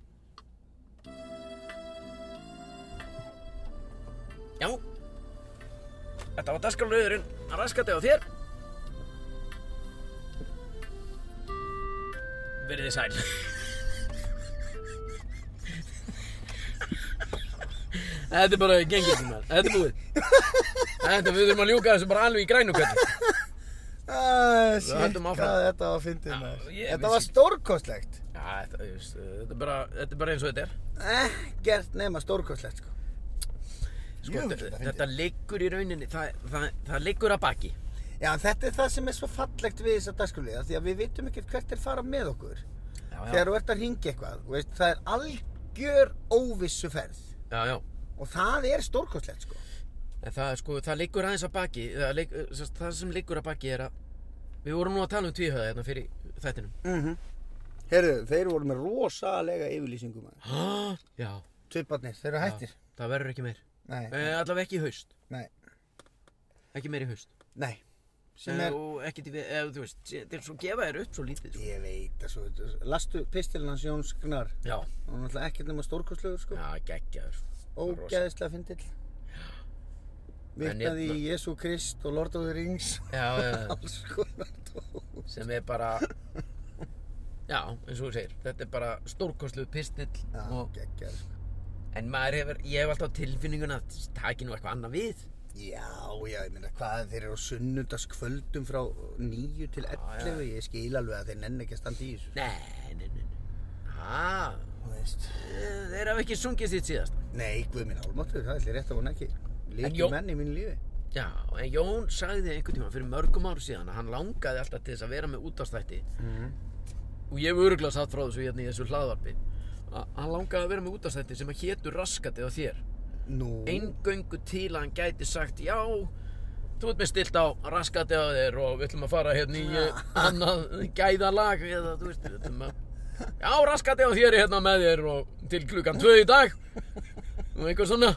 S1: Já. Þetta var dasgrálauðurinn að raskatið á þér. Verðið sæl Þetta er bara gengið sem maður Þetta er búið Þetta við þurfum að ljúka þessu bara alveg í grænu kvæli
S2: Æ, shit,
S1: höldum áfram.
S2: hvað Ah, þetta var fyndið
S1: Já,
S2: maður.
S1: ég
S2: Þetta
S1: vissi
S2: var
S1: ekki.
S2: stórkostlegt.
S1: Já, þetta, þú veist, þetta, er bara, þetta er bara eins og þetta er
S2: Ekkert nema stórkostlegt, sko.
S1: sko,
S2: Jöfull,
S1: þetta,
S2: þetta fyndið.
S1: þetta liggur í rauninni Það, það, það liggur að baki
S2: Já, en þetta er það sem er svo fallegt við þessa dagskulíða því að við vitum ekkert hvert er fara með okkur
S1: Já, já,
S2: þegar þú ert að ringa eitthvað, þú veist, það er algjör óvissuferð
S1: já, já.
S2: og það er stórkostlegt sko
S1: En Það, er, sko, það liggur aðeins að baki það, ligg, sem sagt, það sem liggur að baki er að Við vorum nú að tala um tvíhöða hérna fyrir þættinum
S2: mm -hmm. Herru, þeir voru með rosalega yfirlýsingum
S1: Hæ? Já,
S2: Tviparnir, þeir eru hættir
S1: það verður ekki meir.
S2: Nei,
S1: Eh, allavega ekki í haust.
S2: nei,
S1: Ekki meir í haust.
S2: nei Sem
S1: Eh,
S2: er,
S1: Og ekkert í við, ef þú veist, þeir svo gefa þér upp svo lítið. Sko.
S2: ég veit að svo Lastu pistilinn hans Jóns Gnar
S1: Já,
S2: Hún er náttúrulega ekkert nema stórkostlegur sko
S1: já, geggjaður.
S2: Ógæðislega fyndill
S1: En
S2: Vitnaði í
S1: hérna-
S2: Jésu Krist og Lord of the Rings
S1: Já, já,
S2: Alls konar dó
S1: sem er bara, já, eins og þú segir, þetta er bara stórkostlu pistill.
S2: Já,
S1: og,
S2: geggjað sko
S1: en maður hefur, ég hef alltaf á tilfinninguna að það taki nú eitthvað annað við.
S2: Já, já, ég meina hvað þeir eru á sunnundaskvöldum frá 9 til 11 Ég skil alveg að þeir nenni ekki að standa í þessu sko.
S1: Nei, nei, nei, nei. Hæ?
S2: Þú veist
S1: Þeir hafa ekki sungið sitt síðast.
S2: Nei, guð minn álmáttur, það ætlir rétt að hún ekki
S1: En
S2: Líki
S1: Jón-
S2: menn í mínu lífi
S1: Já, en Jón sagði einhvern tíma fyrir mörgum áru síðan að hann langaði alltaf til þess að vera með útastætti og ég hef öruglega satt frá þessu hérna í þessu hlaðvarpi að hann langaði að vera með útastætti sem að hétur raskatið á þér
S2: Nú,
S1: eingöngu til að hann gæti sagt já, þú ert með stilt á raskatið á þér og við ætlum að fara hérna í eh, annað gæðalag eða þú veist, við ætlum að já, raskatið á þér er hérna með þér og til klukkan tvö í dag og einhver svona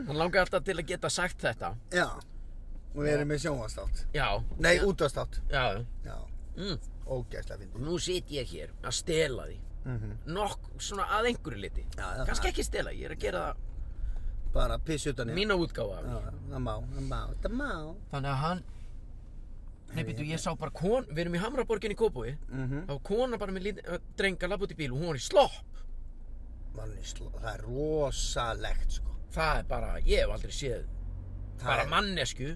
S1: hann langaði alltaf til að geta sagt þetta
S2: já Og við erum með sjónvastátt
S1: já,
S2: Nei, útastátt
S1: já, já.
S2: Já,
S1: mm.
S2: ógæslega fyndið
S1: nú sit ég hér að stela því
S2: Mhm.
S1: nokk, svona að einhverju liti
S2: Já, já,
S1: kannski
S2: það-
S1: ekki stela, ég er að gera það Mhm.
S2: Bara piss utan í
S1: mína útgáfa af
S2: Já,
S1: því
S2: það má, það má, það má
S1: þannig að hann Nei, býtu, ég sá bara kon, við erum í Hamraborginni í Kópói,
S2: Mhm.
S1: þá var kona bara með lít, drenga labb út í bíl og hún var í slopp.
S2: Manni, sló- það er rosalegt sko
S1: Það er bara, ég hef aldrei séð,
S2: Það
S1: bara
S2: er-
S1: mannesku.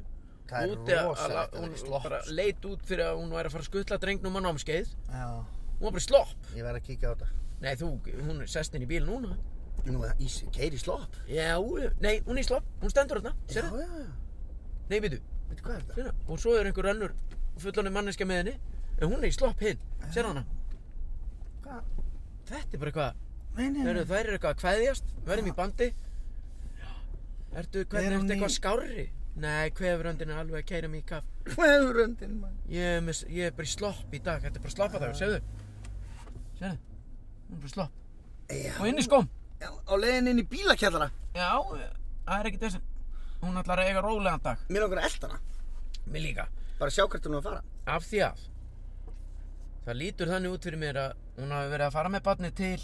S2: Það er
S1: úti að- að-
S2: rosalegt að
S1: Hún
S2: vera í slopp,
S1: bara
S2: sko.
S1: leit út fyrir að hún væri að fara að skutla drengnum á námskeið.
S2: Já,
S1: Hún var bara í slopp.
S2: ég verð að kíkja á þetta
S1: Nei, þú, hún er sest inn í bíl núna.
S2: Nú, það ís, keiri slopp
S1: Já, nei, hún er í slopp, hún stendur hérna,
S2: Já,
S1: sérðu?
S2: já, já,
S1: Nei, býtu,
S2: veitu hvað er þetta?
S1: Sérna, og svo er einhver önnur fullanir manneska með henni en hún er í slopp hinn, sér hana
S2: Hvað?
S1: þetta er bara eitthvað,
S2: Nei, nei,
S1: eru, þær eru eitthvað að kveðjast verðum í bandi ertu,
S2: Er
S1: hvernig
S2: hún
S1: ertu
S2: í-
S1: eitthvað skárri nei, kvefuröndin er alveg að kæra mig í kaff
S2: Hverundin, mann
S1: ég er, með, ég er bara í slopp í dag, þetta er bara sloppa dagur, segðu segðu, hún er bara í slopp
S2: Já,
S1: og inn í skóm,
S2: já, á leiðin inn í bílakjallara
S1: já, það er ekkert þessin hún ætlar að eiga rólegan dag
S2: Mér langar að elta hana
S1: mér líka
S2: Bara sjá hvert hún er að fara
S1: af því að það lítur þannig út fyrir mér að hún hafi verið að fara með barnið til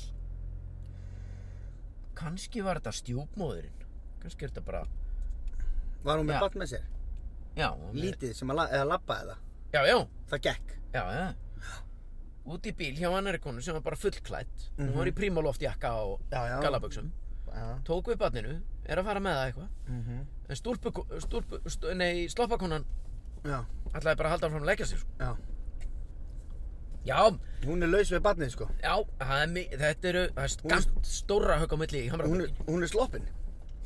S1: kannski var þetta stjúpmóðurinn kannski er þetta bara
S2: Var hún með
S1: Já.
S2: barn með sér?
S1: já, hún er-
S2: Lítið sem að la eða labbaði það.
S1: já, já,
S2: Það gekk.
S1: já, já út í bíl hjá annari konu sem var bara fullklætt hún var í prímaloftjakka og
S2: Mhm. Já, já.
S1: galaböksum
S2: Já.
S1: tók við barninu, er að fara með það eitthvað
S2: Mhm.
S1: en stúrpu, stúrpu st nei, sloppakonan
S2: Já.
S1: ætlaði bara að halda fram að leggja sér sko.
S2: Já.
S1: já,
S2: Hún er laus við barnið sko.
S1: já, það er, mi- þetta eru það er
S2: Hún er-
S1: skamt stóra högg á milli í
S2: Hún er,
S1: Hamraborginni
S2: hún er sloppin.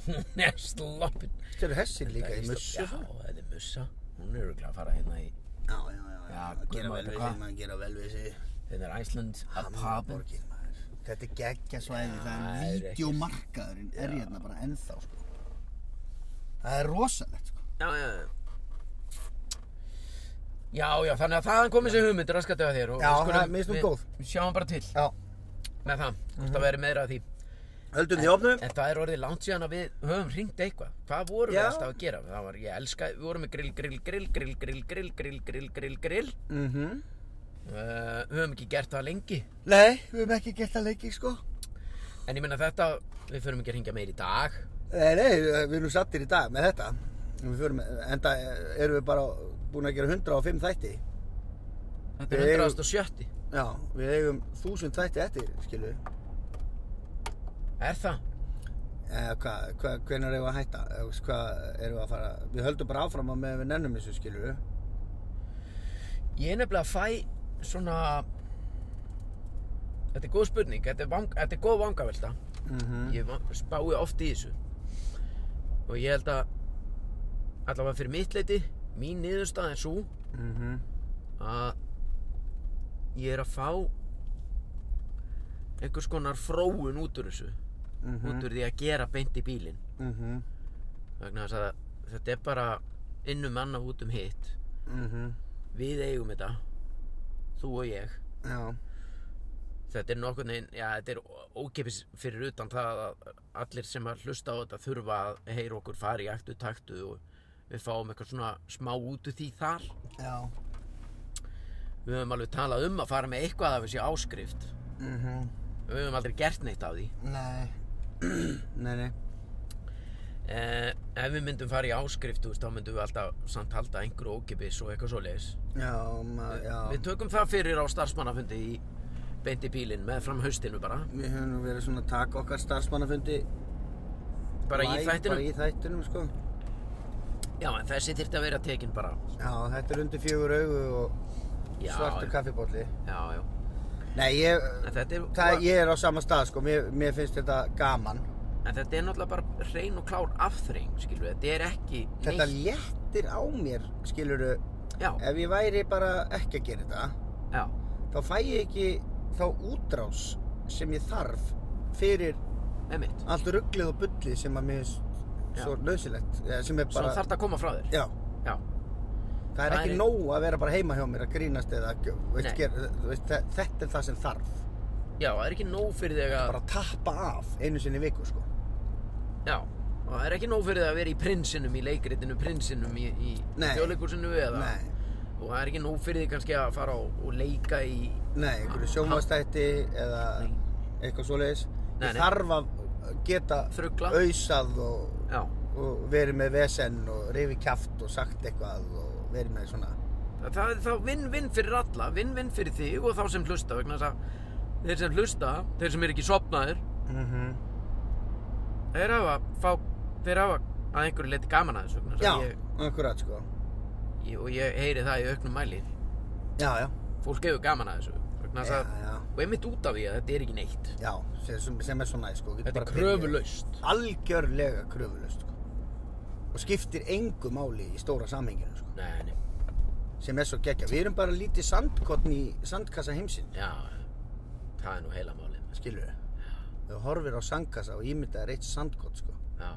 S1: hún er sloppin
S2: Þetta eru hessin líka í mussu.
S1: já, þetta er mussa hún er örugglega að fara hérna í
S2: Já, já, já. já.
S1: Já,
S2: Að gera
S1: guð,
S2: vel
S1: maður,
S2: við
S1: hvað?
S2: sig, maður gera vel við sig.
S1: þetta hérna er Iceland að pabin
S2: Hamborgin, maður. Þetta er geggja svæði.
S1: það
S2: Það
S1: er
S2: er
S1: ekki-
S2: videomarkaðurinn er hérna bara ennþá sko. Það er rosalegt sko.
S1: já, já, já já, já, þannig að þaðan komið sér hugmynd raskatið að þér og
S2: Já,
S1: við
S2: það- mér finnst hún
S1: við-
S2: góð.
S1: við sjáum bara til
S2: Já. Mhm.
S1: með það, hvort það veri meira af því
S2: Höldum því opnum?
S1: en það er orðið langt síðan að við höfum hringt eitthvað hvað vorum við
S2: Já.
S1: alltaf að gera það var, ég elska, við vorum með grill, grill, grill, grill, grill, grill, grill, grill, grill, grill
S2: Mhm.
S1: uh, höfum ekki gert það lengi
S2: Nei, við hefum ekki gert það lengi sko.
S1: en ég meina þetta, við förum ekki að hringja meir í dag
S2: Nei, nei, við erum sattir í dag með þetta Við förum, Enda eh, erum við bara búin að gera 105 þætti
S1: þetta
S2: Við
S1: er
S2: eigum-
S1: 170
S2: Já, við eigum 1000 þætti eftir, skilu
S1: er það?
S2: Eða hvað, Eh, hva, hvenær eigum við að hætta? Eða veist, Hvað erum við að fara? Við höldum bara áfram á meðan við nennum þessu, skilu
S1: Ég er nefnilega að fæ svona Þetta er góð spurning, þetta er, vang... þetta er góð vangavelta
S2: Mhm.
S1: Ég va- spái oft í þessu Og ég held að allavega fyrir mitt leiti mín niðurstað er svo
S2: Mhm.
S1: að ég er að fá einhvers konar fróun út úr þessu út úr því að gera beint í bílinn
S2: Mhm.
S1: vegna þess að þetta er bara innum annað út um hitt
S2: Mhm.
S1: við eigum þetta þú og ég
S2: Já,
S1: þetta er nokkurn veginn, já, þetta er ókipis fyrir utan það að allir sem að hlusta á þetta þurfa að heyra okkur fara í aktu taktu og við fáum eitthvað svona smá út úr því þar.
S2: Já.
S1: Við höfum alveg talað um að fara með eitthvað af þessi áskrift.
S2: Mm
S1: Við höfum aldrei gert neitt af því.
S2: Nei. nei, nei.
S1: Eh, ef við myndum fara í áskrift, þú veist, þá myndum við alltaf samt halda einhverju ókipis og eitthvað svoleiðis.
S2: Já, maður, já.
S1: Við tökum það fyrir á starfsmannafundi í beint í bílinn með fram haustinu bara.
S2: Við höfum nú verið svona að taka okkar starfsmannafundi
S1: Bara í
S2: live,
S1: þættinum.
S2: Bara í þættinum, sko
S1: Já, en þessi þyrfti að vera tekin bara.
S2: Já, þetta er undir fjögur augu og
S1: Já,
S2: svartur
S1: já.
S2: kaffibólli
S1: Já, já.
S2: Nei, ég,
S1: En þetta er...
S2: það, ég er á sama stað, sko Mér, mér finnst þetta gaman
S1: En þetta er náttúrulega bara hrein og klár afþreying, skilur við. Þetta er ekki
S2: Þetta
S1: neitt.
S2: léttir á mér, skilurðu
S1: Já,
S2: Ef ég væri bara ekki að gera þetta
S1: já,
S2: Þá fæ ég ekki þá útrás sem ég þarf fyrir
S1: einmitt.
S2: allt rugglið og bullið sem að mér finnst
S1: Já.
S2: svo nöðsilegt sem er
S1: Svo
S2: bara,
S1: þarf þetta að koma frá þér.
S2: já
S1: Já,
S2: Það er
S1: Það
S2: ekki
S1: er-
S2: nóg að vera bara heima hjá mér að grínast eða ekki, veist,
S1: Nei.
S2: ger, veist, þe- þetta er það sem þarf.
S1: já, það er ekki nóg fyrir þig að...
S2: Bara að tappa af einu sinni í viku, sko.
S1: Já, og það er ekki nóg fyrir þig að vera í prinsinum, í leikritinu, prinsinum, í, í
S2: Nei.
S1: þjóðleikursinu eða...
S2: Nei,
S1: Og það er ekki nóg fyrir þig kannski að fara og, og leika í...
S2: nei, einhverju sjónvastætti eða
S1: Nei.
S2: eitthvað svoleiðis.
S1: Nei,
S2: Ég
S1: nei.
S2: þarf að geta
S1: Þrugla.
S2: ausað og,
S1: Já,
S2: og verið með vesen og rifið kjaft og sagt eitthvað og verið með svona.
S1: það, það er þá vinn-vinn fyrir alla, vinn-vinn fyrir þig og þá sem hlusta vegna þess að þeir sem hlusta, þeir sem er ekki sopnaðir,
S2: Mm
S1: Mhm.
S2: -hmm.
S1: þeir hafa, fá, þeir hafa að einhverju leiti gaman að þessu vegna þess
S2: Já,
S1: að ég,
S2: akkurat, sko.
S1: ég, og ég heyri það í auknum mæli
S2: Já, já.
S1: fólk hefur gaman að þessu vegna þess
S2: Já,
S1: að,
S2: já.
S1: og einmitt út af því að þetta er ekki neitt
S2: Já, sem, sem er svo næ, sko. Getur
S1: þetta
S2: bara
S1: er
S2: byrjað.
S1: kröfulaust
S2: algjörlega kröfulöst sko. og skiptir engu máli í stóra samhenginu sko.
S1: nei, nei,
S2: sem er svo geggja við erum bara lítið sandkotn í sandkassa heimsinn
S1: já, það er nú heila málið
S2: skilur við þú horfir á sandkassa og ímyndaðir eitt sandkott sko.
S1: já,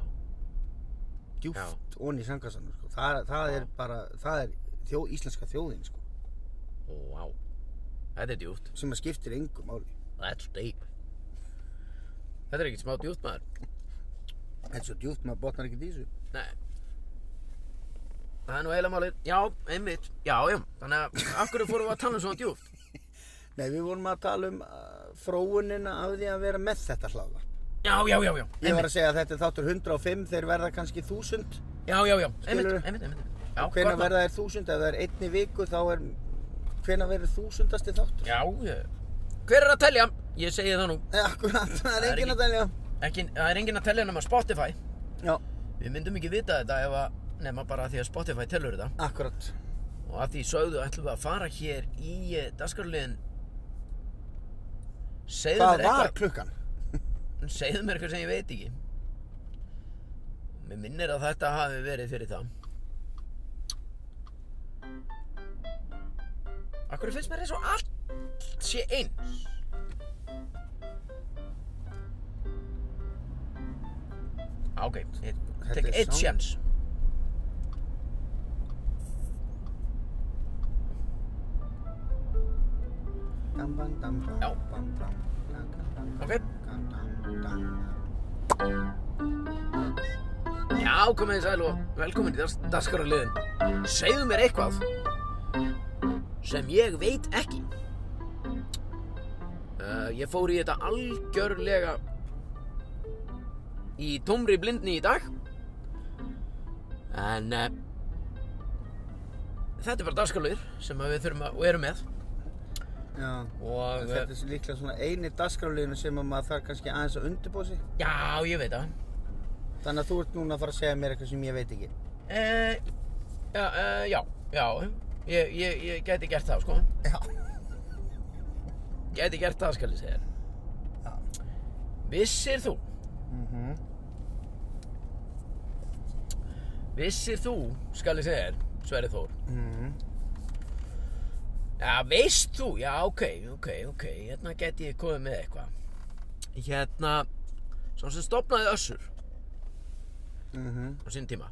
S2: djúft onni í sandkassanum sko. það, það er bara það er þjó, íslenska þjóðin sko.
S1: og vá þetta er djúpt,
S2: sem að skiptir engu máli
S1: that's deep þetta er ekki smá djúpt maður
S2: þetta er svo djúft maður botnar ekki í þessu
S1: nei það er nú heila málið, já, einmitt já, já, þannig að af hverju fórum við að tala um svona djúpt
S2: Nei, við vorum að tala um uh, fróunina af því að vera með þetta hláðvarp.
S1: já, já, já, já,
S2: Ég var að segja að þetta er þáttur 105, þeir verða kannski 1000.
S1: já, já, já einmitt,
S2: Skilurðu?
S1: einmitt, einmitt Já,
S2: Já, hvena
S1: gott mál.
S2: verða þær þúsund, ef það er einni viku þá er hvena verður þúsundasti þáttur?
S1: Já, ég... hver er að telja? Ég segi það nú,
S2: Nei, akkurat, það er
S1: er
S2: engin
S1: ekki-
S2: að telja.
S1: ekki, það er enginn að telja nema Spotify.
S2: Já,
S1: Við myndum ekki vita þetta ef að, nema bara af því að Spotify telur þetta.
S2: akkurat.
S1: Og af því sögðu ætlum við að fara hér í eh, dagskrárliðin. Segðu
S2: Hvað
S1: mér
S2: var
S1: eitthvað,
S2: klukkan?
S1: segðu mér eitthvað sem ég veit ekki. Mér minnir að þetta hafi verið fyrir það. Akkur finnst mér eins og allt sé eins. Ok, ég
S2: Þetta
S1: tek
S2: er
S1: eitt
S2: sound.
S1: sjans.
S2: Dam, bam, dam, bam,
S1: Já.
S2: bam, bam, dam, dam,
S1: Ok,
S2: dam, dam, dam.
S1: já, komið þið sæl og velkomin í das daskaraliðin. Segðu mér eitthvað sem ég veit ekki. Uh, ég fór í þetta algjörlega í tómri blindni í dag. En uh, þetta er bara daskaraliðir sem að við þurfum að, og erum með.
S2: Já,
S1: Og, eh,
S2: þetta er svo líklega svona eini dagskráliðinu sem að maður þarf kannski aðeins að undirbúa sig.
S1: Já, ég veit það.
S2: Þannig að þú ert núna að fara að segja mér eitthvað sem ég veit ekki.
S1: Uh, já, uh, já, já, ég, ég, ég gæti gert það, sko.
S2: Já.
S1: Gæti gert það, skal ég segja þér.
S2: Já.
S1: Vissir þú,
S2: Mhm.
S1: vissir þú, skal ég segja þér, Sverri Þór.
S2: Mhm.
S1: Já, veist þú, já, ok, ok, ok, hérna gæti ég komið með eitthvað. Hérna, svo sem stopnaði Össur
S2: Mhm.
S1: á sinn tíma,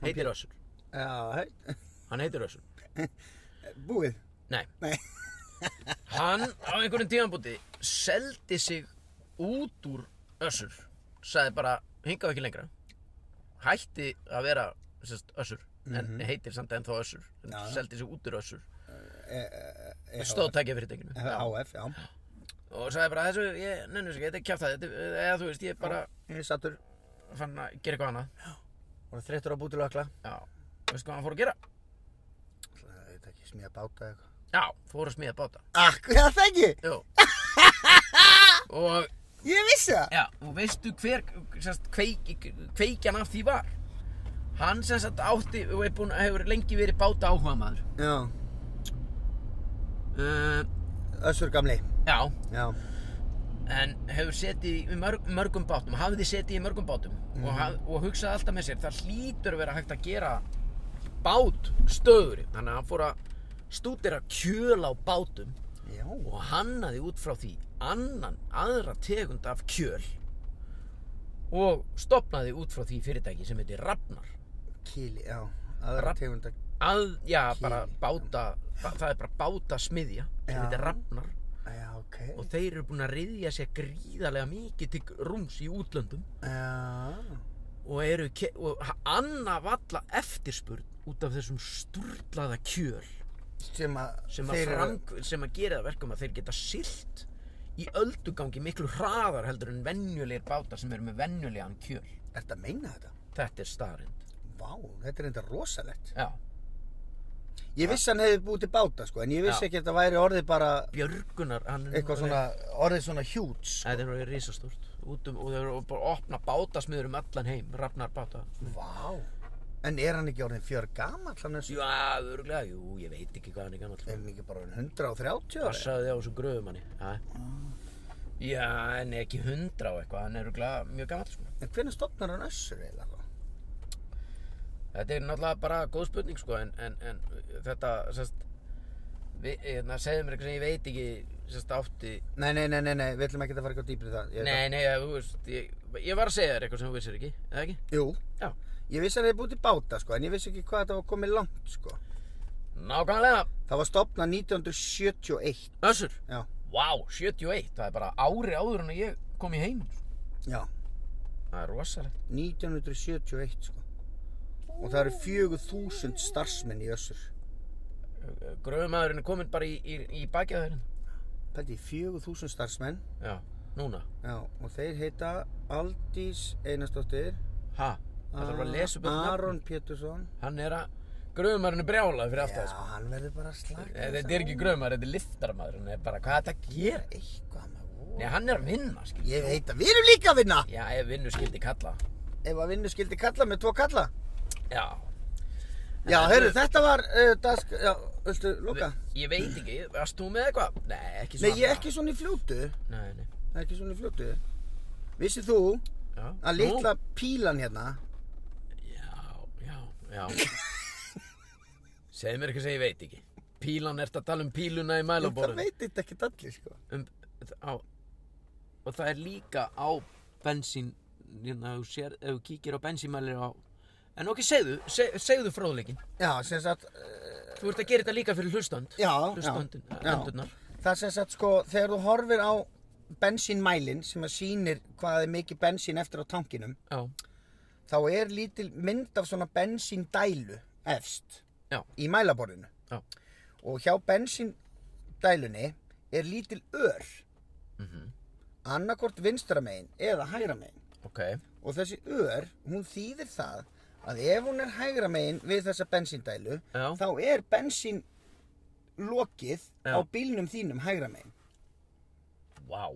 S1: heitir Össur,
S2: Já, hei.
S1: hann heitir Össur.
S2: Búið.
S1: Nei.
S2: Nei.
S1: Hann á einhverjum tímanbúti seldi sig út úr össur sagði bara, hingað ekki lengra hætti að vera sest, össur, en heitir samt ennþá össur
S2: Já, já.
S1: seldi sig út úr össur
S2: EHF.
S1: stóðtækja fyrirtækinu
S2: eh, HF, já.
S1: og sagði bara, þessu, ég nennu sig, þetta er kjátt það eða þú veist, ég bara
S2: Ég er sattur.
S1: fann að gera eitthvað annað
S2: Voru þreyttur á bútilökla.
S1: já, veistu hvað hann fór að gera?
S2: Það veit ekki, smíða báta eða eitthvað.
S1: já, fór að smíða báta
S2: Akkur, já það ekki.
S1: Jú. og
S2: Ég vissi það.
S1: Já, og veistu hver sérst, kveik, kveikjan af því var? Hann sem sagt átti og er búinn hefur lengi verið báta áhuga maður.
S2: Já.
S1: Uh,
S2: Össur gamli.
S1: já,
S2: Já.
S1: en hefur setið í mörg, mörgum bátum, hafði setið í mörgum bátum og,
S2: Mhm.
S1: haf, og hugsaði alltaf með sér, það hlýtur að vera hægt að gera bát stöðuri. Þannig að hann fór að stúdera kjöl á bátum
S2: Já.
S1: og hannaði út frá því annan, aðra tegund af kjöl og stopnaði út frá því fyrirtæki sem heitir Rafnar.
S2: Kýli, já. Aðra
S1: Rapp.
S2: tegunda.
S1: að, já,
S2: Kýli.
S1: bara báta bá, það er bara báta smiðja sem
S2: Já.
S1: heitir Rafnar
S2: Já, ok.
S1: og þeir eru búin að riðja sér gríðarlega mikið til rúms í útlöndum
S2: Já.
S1: og eru ke- og ha- anna valla eftirspurn út af þessum sturlaða kjöl
S2: Sem að
S1: sem að,
S2: þeir eru-
S1: frang, sem að gera það verkum að þeir geta silt í öldugangi miklu hraðar heldur en venjulegir bátar sem eru með venjulegan kjöl
S2: Ertu að meina þetta?
S1: þetta er starind
S2: Vá, þetta er enda rosalegt.
S1: já.
S2: Ég vissi hann hefði búið til báta, sko, en ég
S1: Já.
S2: vissi ekki að þetta væri orðið bara
S1: Björgunar hann er nú
S2: eitthvað svona, orðið svona huge, sko.
S1: Þetta er alveg risastórt út um, og þeir eru bara að opna bátasmiður um allan heim, rafnar báta.
S2: Vá. En er hann ekki orðin fjör gamall hann þessu?
S1: Já, örgulega, jú, ég veit ekki hvað hann er gammal.
S2: Er hann ekki bara orðinn 130 ára?
S1: Passaði þið á þessu gröfum hann, já. Já, en ekki hundra og eitthvað, hann er örgulega mjög gammal, sko.
S2: En hvernig stopnar hann össur eiginlega? þá?
S1: Þetta er náttúrulega bara góð spurning, sko, en, en, en þetta, sérst, við, hérna, segðu mér eitthvað sem ég veit ekki, sérst, átti.
S2: Nei, nei, nei, nei, nei, við ætlum ekki að fara eitthvað dýpri það. Ég
S1: Nei, nei, þú veist, ég, ég var að segja þér eitthvað sem þú vissir ekki, eða ekki?
S2: Jú.
S1: Já.
S2: Ég vissi hann hefði búið til báta, sko, en ég vissi ekki hvað þetta var komið langt, sko.
S1: Nákvæmlega,
S2: Það var stopnað 1971.
S1: Össur.
S2: Já.
S1: Vá, 71, það er bara ári áður en að ég kom í heiminn, sko.
S2: Já.
S1: Það er rosalegt.
S2: 1971, sko. Og það eru 4000 starfsmenn í össur.
S1: Gröfumæðurinn er kominn bara í, í, í bakið á þeirinn.
S2: Pældi, í 4000 starfsmenn.
S1: Já, núna.
S2: Já, og þeir heita Aldís Einarsdóttir.
S1: Ha? Það þarf að lesa upp þetta
S2: Aron Pétursson.
S1: Hann er að, gröfumæðurinn er brjálaði fyrir
S2: Já,
S1: aftur. Sko.
S2: hann verður bara að slaka.
S1: Eh, Þetta er ekki gröfumæður, þetta er liftarmæður. Hann er bara, hvað er þetta að gera?
S2: Eitthvað maður.
S1: Nei, hann er að vinna, skil.
S2: Ég veit að við erum líka að vinna.
S1: Já, ef vinnu skildi kalla.
S2: Ef að vinnu skildi kalla með tvo kalla.
S1: Já.
S2: Já, heyrðu, þetta var uh, dask... Já, viltu lúka?
S1: Ég veit ekki, varst þú með eitthvað? Nei, ekki
S2: Nei,
S1: svona.
S2: ég er ekki svona í fljótu.
S1: Nei, nei.
S2: Ekki svona í fljótu. Vissið þú
S1: Já.
S2: að litla pílan hérna,
S1: Nú, já, já, já. Segðu mér eitthvað sem ég veit ekki. Pílan, ert að tala um píluna í
S2: það
S1: mælaborðinu?
S2: veit þetta ekki allir, sko.
S1: um, þ- á, og það er líka á bensín hérna, ef þú sér, ef þú kíkir á bensínmælir á en ok, segðu, seg, segðu fróðleikin
S2: Já, sem sagt, uh,
S1: þú ert að gera þetta líka fyrir hlustand
S2: já, já,
S1: hlustandun,
S2: já.
S1: endurnar
S2: Það sem sagt, sko, þegar þú horfir á bensínmælin sem að sýnir hvað er mikið bensín eftir á tankinum,
S1: já,
S2: þá er lítil mynd af svona bensíndælu efst
S1: Já.
S2: í mælaborðinu.
S1: Já.
S2: Og hjá bensíndælunni er lítil ör,
S1: Mhm.
S2: annarkort vinstra megin eða hægra megin.
S1: ok,
S2: Og þessi ör, hún þýðir það að ef hún er hægra megin við þessa bensíndælu,
S1: Já.
S2: þá er bensín lokið
S1: Já.
S2: á bílnum þínum hægra megin.
S1: vá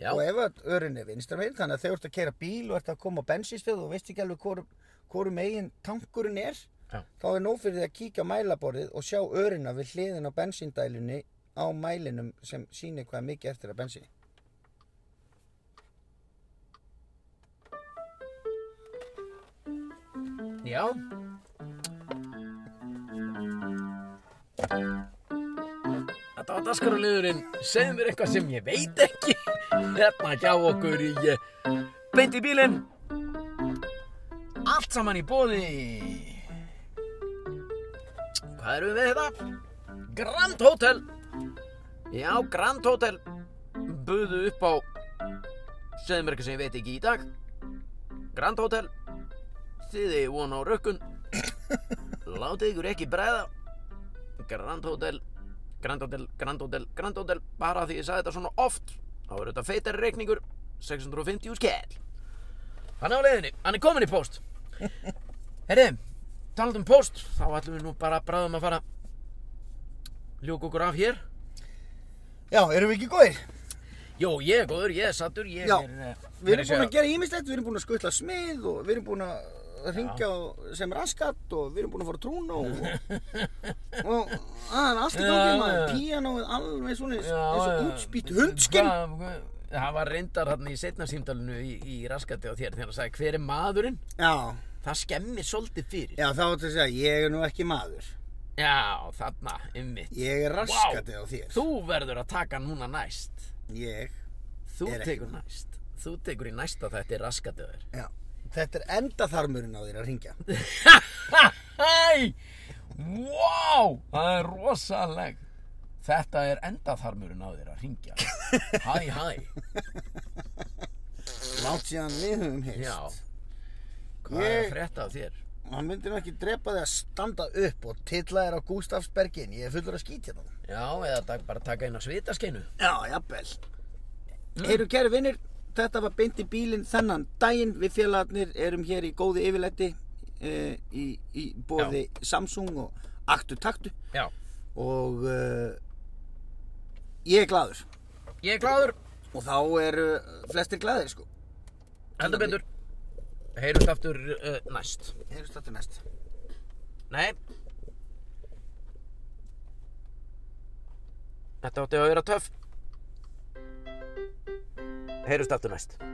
S1: já,
S2: Og ef að örin er vinstra megin, þannig að þegar þú ert að kera bíl og ert að koma á bensinstöð og veist ekki alveg hvor, hvoru megin tankurinn er,
S1: Já.
S2: þá er nóg fyrir því að kíkja á mælaborðið og sjá örina við hliðin á bensíndælunni á mælinum sem sýnir hvað er mikið eftir að bensíni.
S1: já Þetta var daskarulíðurinn, segðu mér eitthvað sem ég veit ekki hérna hjá okkur í eh, beint í bílinn allt saman í bóði Hvað erum við með þetta? hérna? Grand Hotel Já, Grand Hotel Buðu upp á Segðu mér eitthvað sem ég veit ekki í dag Grand Hotel Þið er von á rökkun Látið ykkur ekki bræða Grand Hotel Grand Hotel, Grand Hotel, Grand Hotel Bara því ég sagði þetta svona oft Þá er þetta feitar reikningur 650 skell Hann er á leiðinni, hann er kominn í post Herri, talað um post Þá ætlum við nú bara bráðum að fara Ljúk okkur af hér
S2: Já, erum við ekki góðir?
S1: Jó, ég er góður, ég er sattur, ég
S2: Já,
S1: er... eh, meira
S2: Við erum búin að
S1: segja-
S2: gera ímislegt, við erum búin að skutla smið og við erum búin að ringja og sem raskat og við erum búin að fara trún og, og það er allt í gangi
S1: Já,
S2: maður,
S1: já.
S2: píanóið alveg svona eins
S1: Já,
S2: eins og
S1: já.
S2: útspýtt hundskinn.
S1: Hvað- hvað- Það var reyndar hérna í setna símdalinu í, í raskati á þér þegar hann sagði hver er maðurinn?
S2: Já,
S1: Það skemmir svolítið fyrir.
S2: já þá ætti að segja, ég er nú ekki maður,
S1: Já, þarna, ymmið.
S2: ég er raskatið á þér.
S1: Þú verður að taka núna næst.
S2: Ég,
S1: Þú
S2: Er ekki
S1: tekur næst. Þú tekur í næsta þetta er raskatið þér.
S2: já, þetta er endaþarmurinn á þér að ringja.
S1: Hæ! Wow! Það er rosaleg. Þetta er endaþarmurinn á þér að ringja. Hæ, hæ.
S2: Látt síðan við höfum heist.
S1: Já. Hvað er
S2: Ég-
S1: að frétta af þér?
S2: Hann myndi nú ekki drepa þig að standa upp og tilla þér á Gústafsbergin, ég er fullur að skýt hérna.
S1: Já, eða tak, bara taka inn á svitaskeinu.
S2: Já, jafnvel. Eru Mm. kæri vinnir, þetta var beint í bílinn þennan daginn. Við félagarnir erum hér í góði yfirleiti e, í, í bóði Samsung og Aktu Taktu
S1: Já.
S2: og e, ég er gladur
S1: Ég er gláður.
S2: og þá eru flestir gladir sko.
S1: Heldur betur. Heyrumst aftur uh, næst.
S2: Heyrjum þetta næst.
S1: Nei. Þetta átti að vera töff. Heyrumst aftur næst.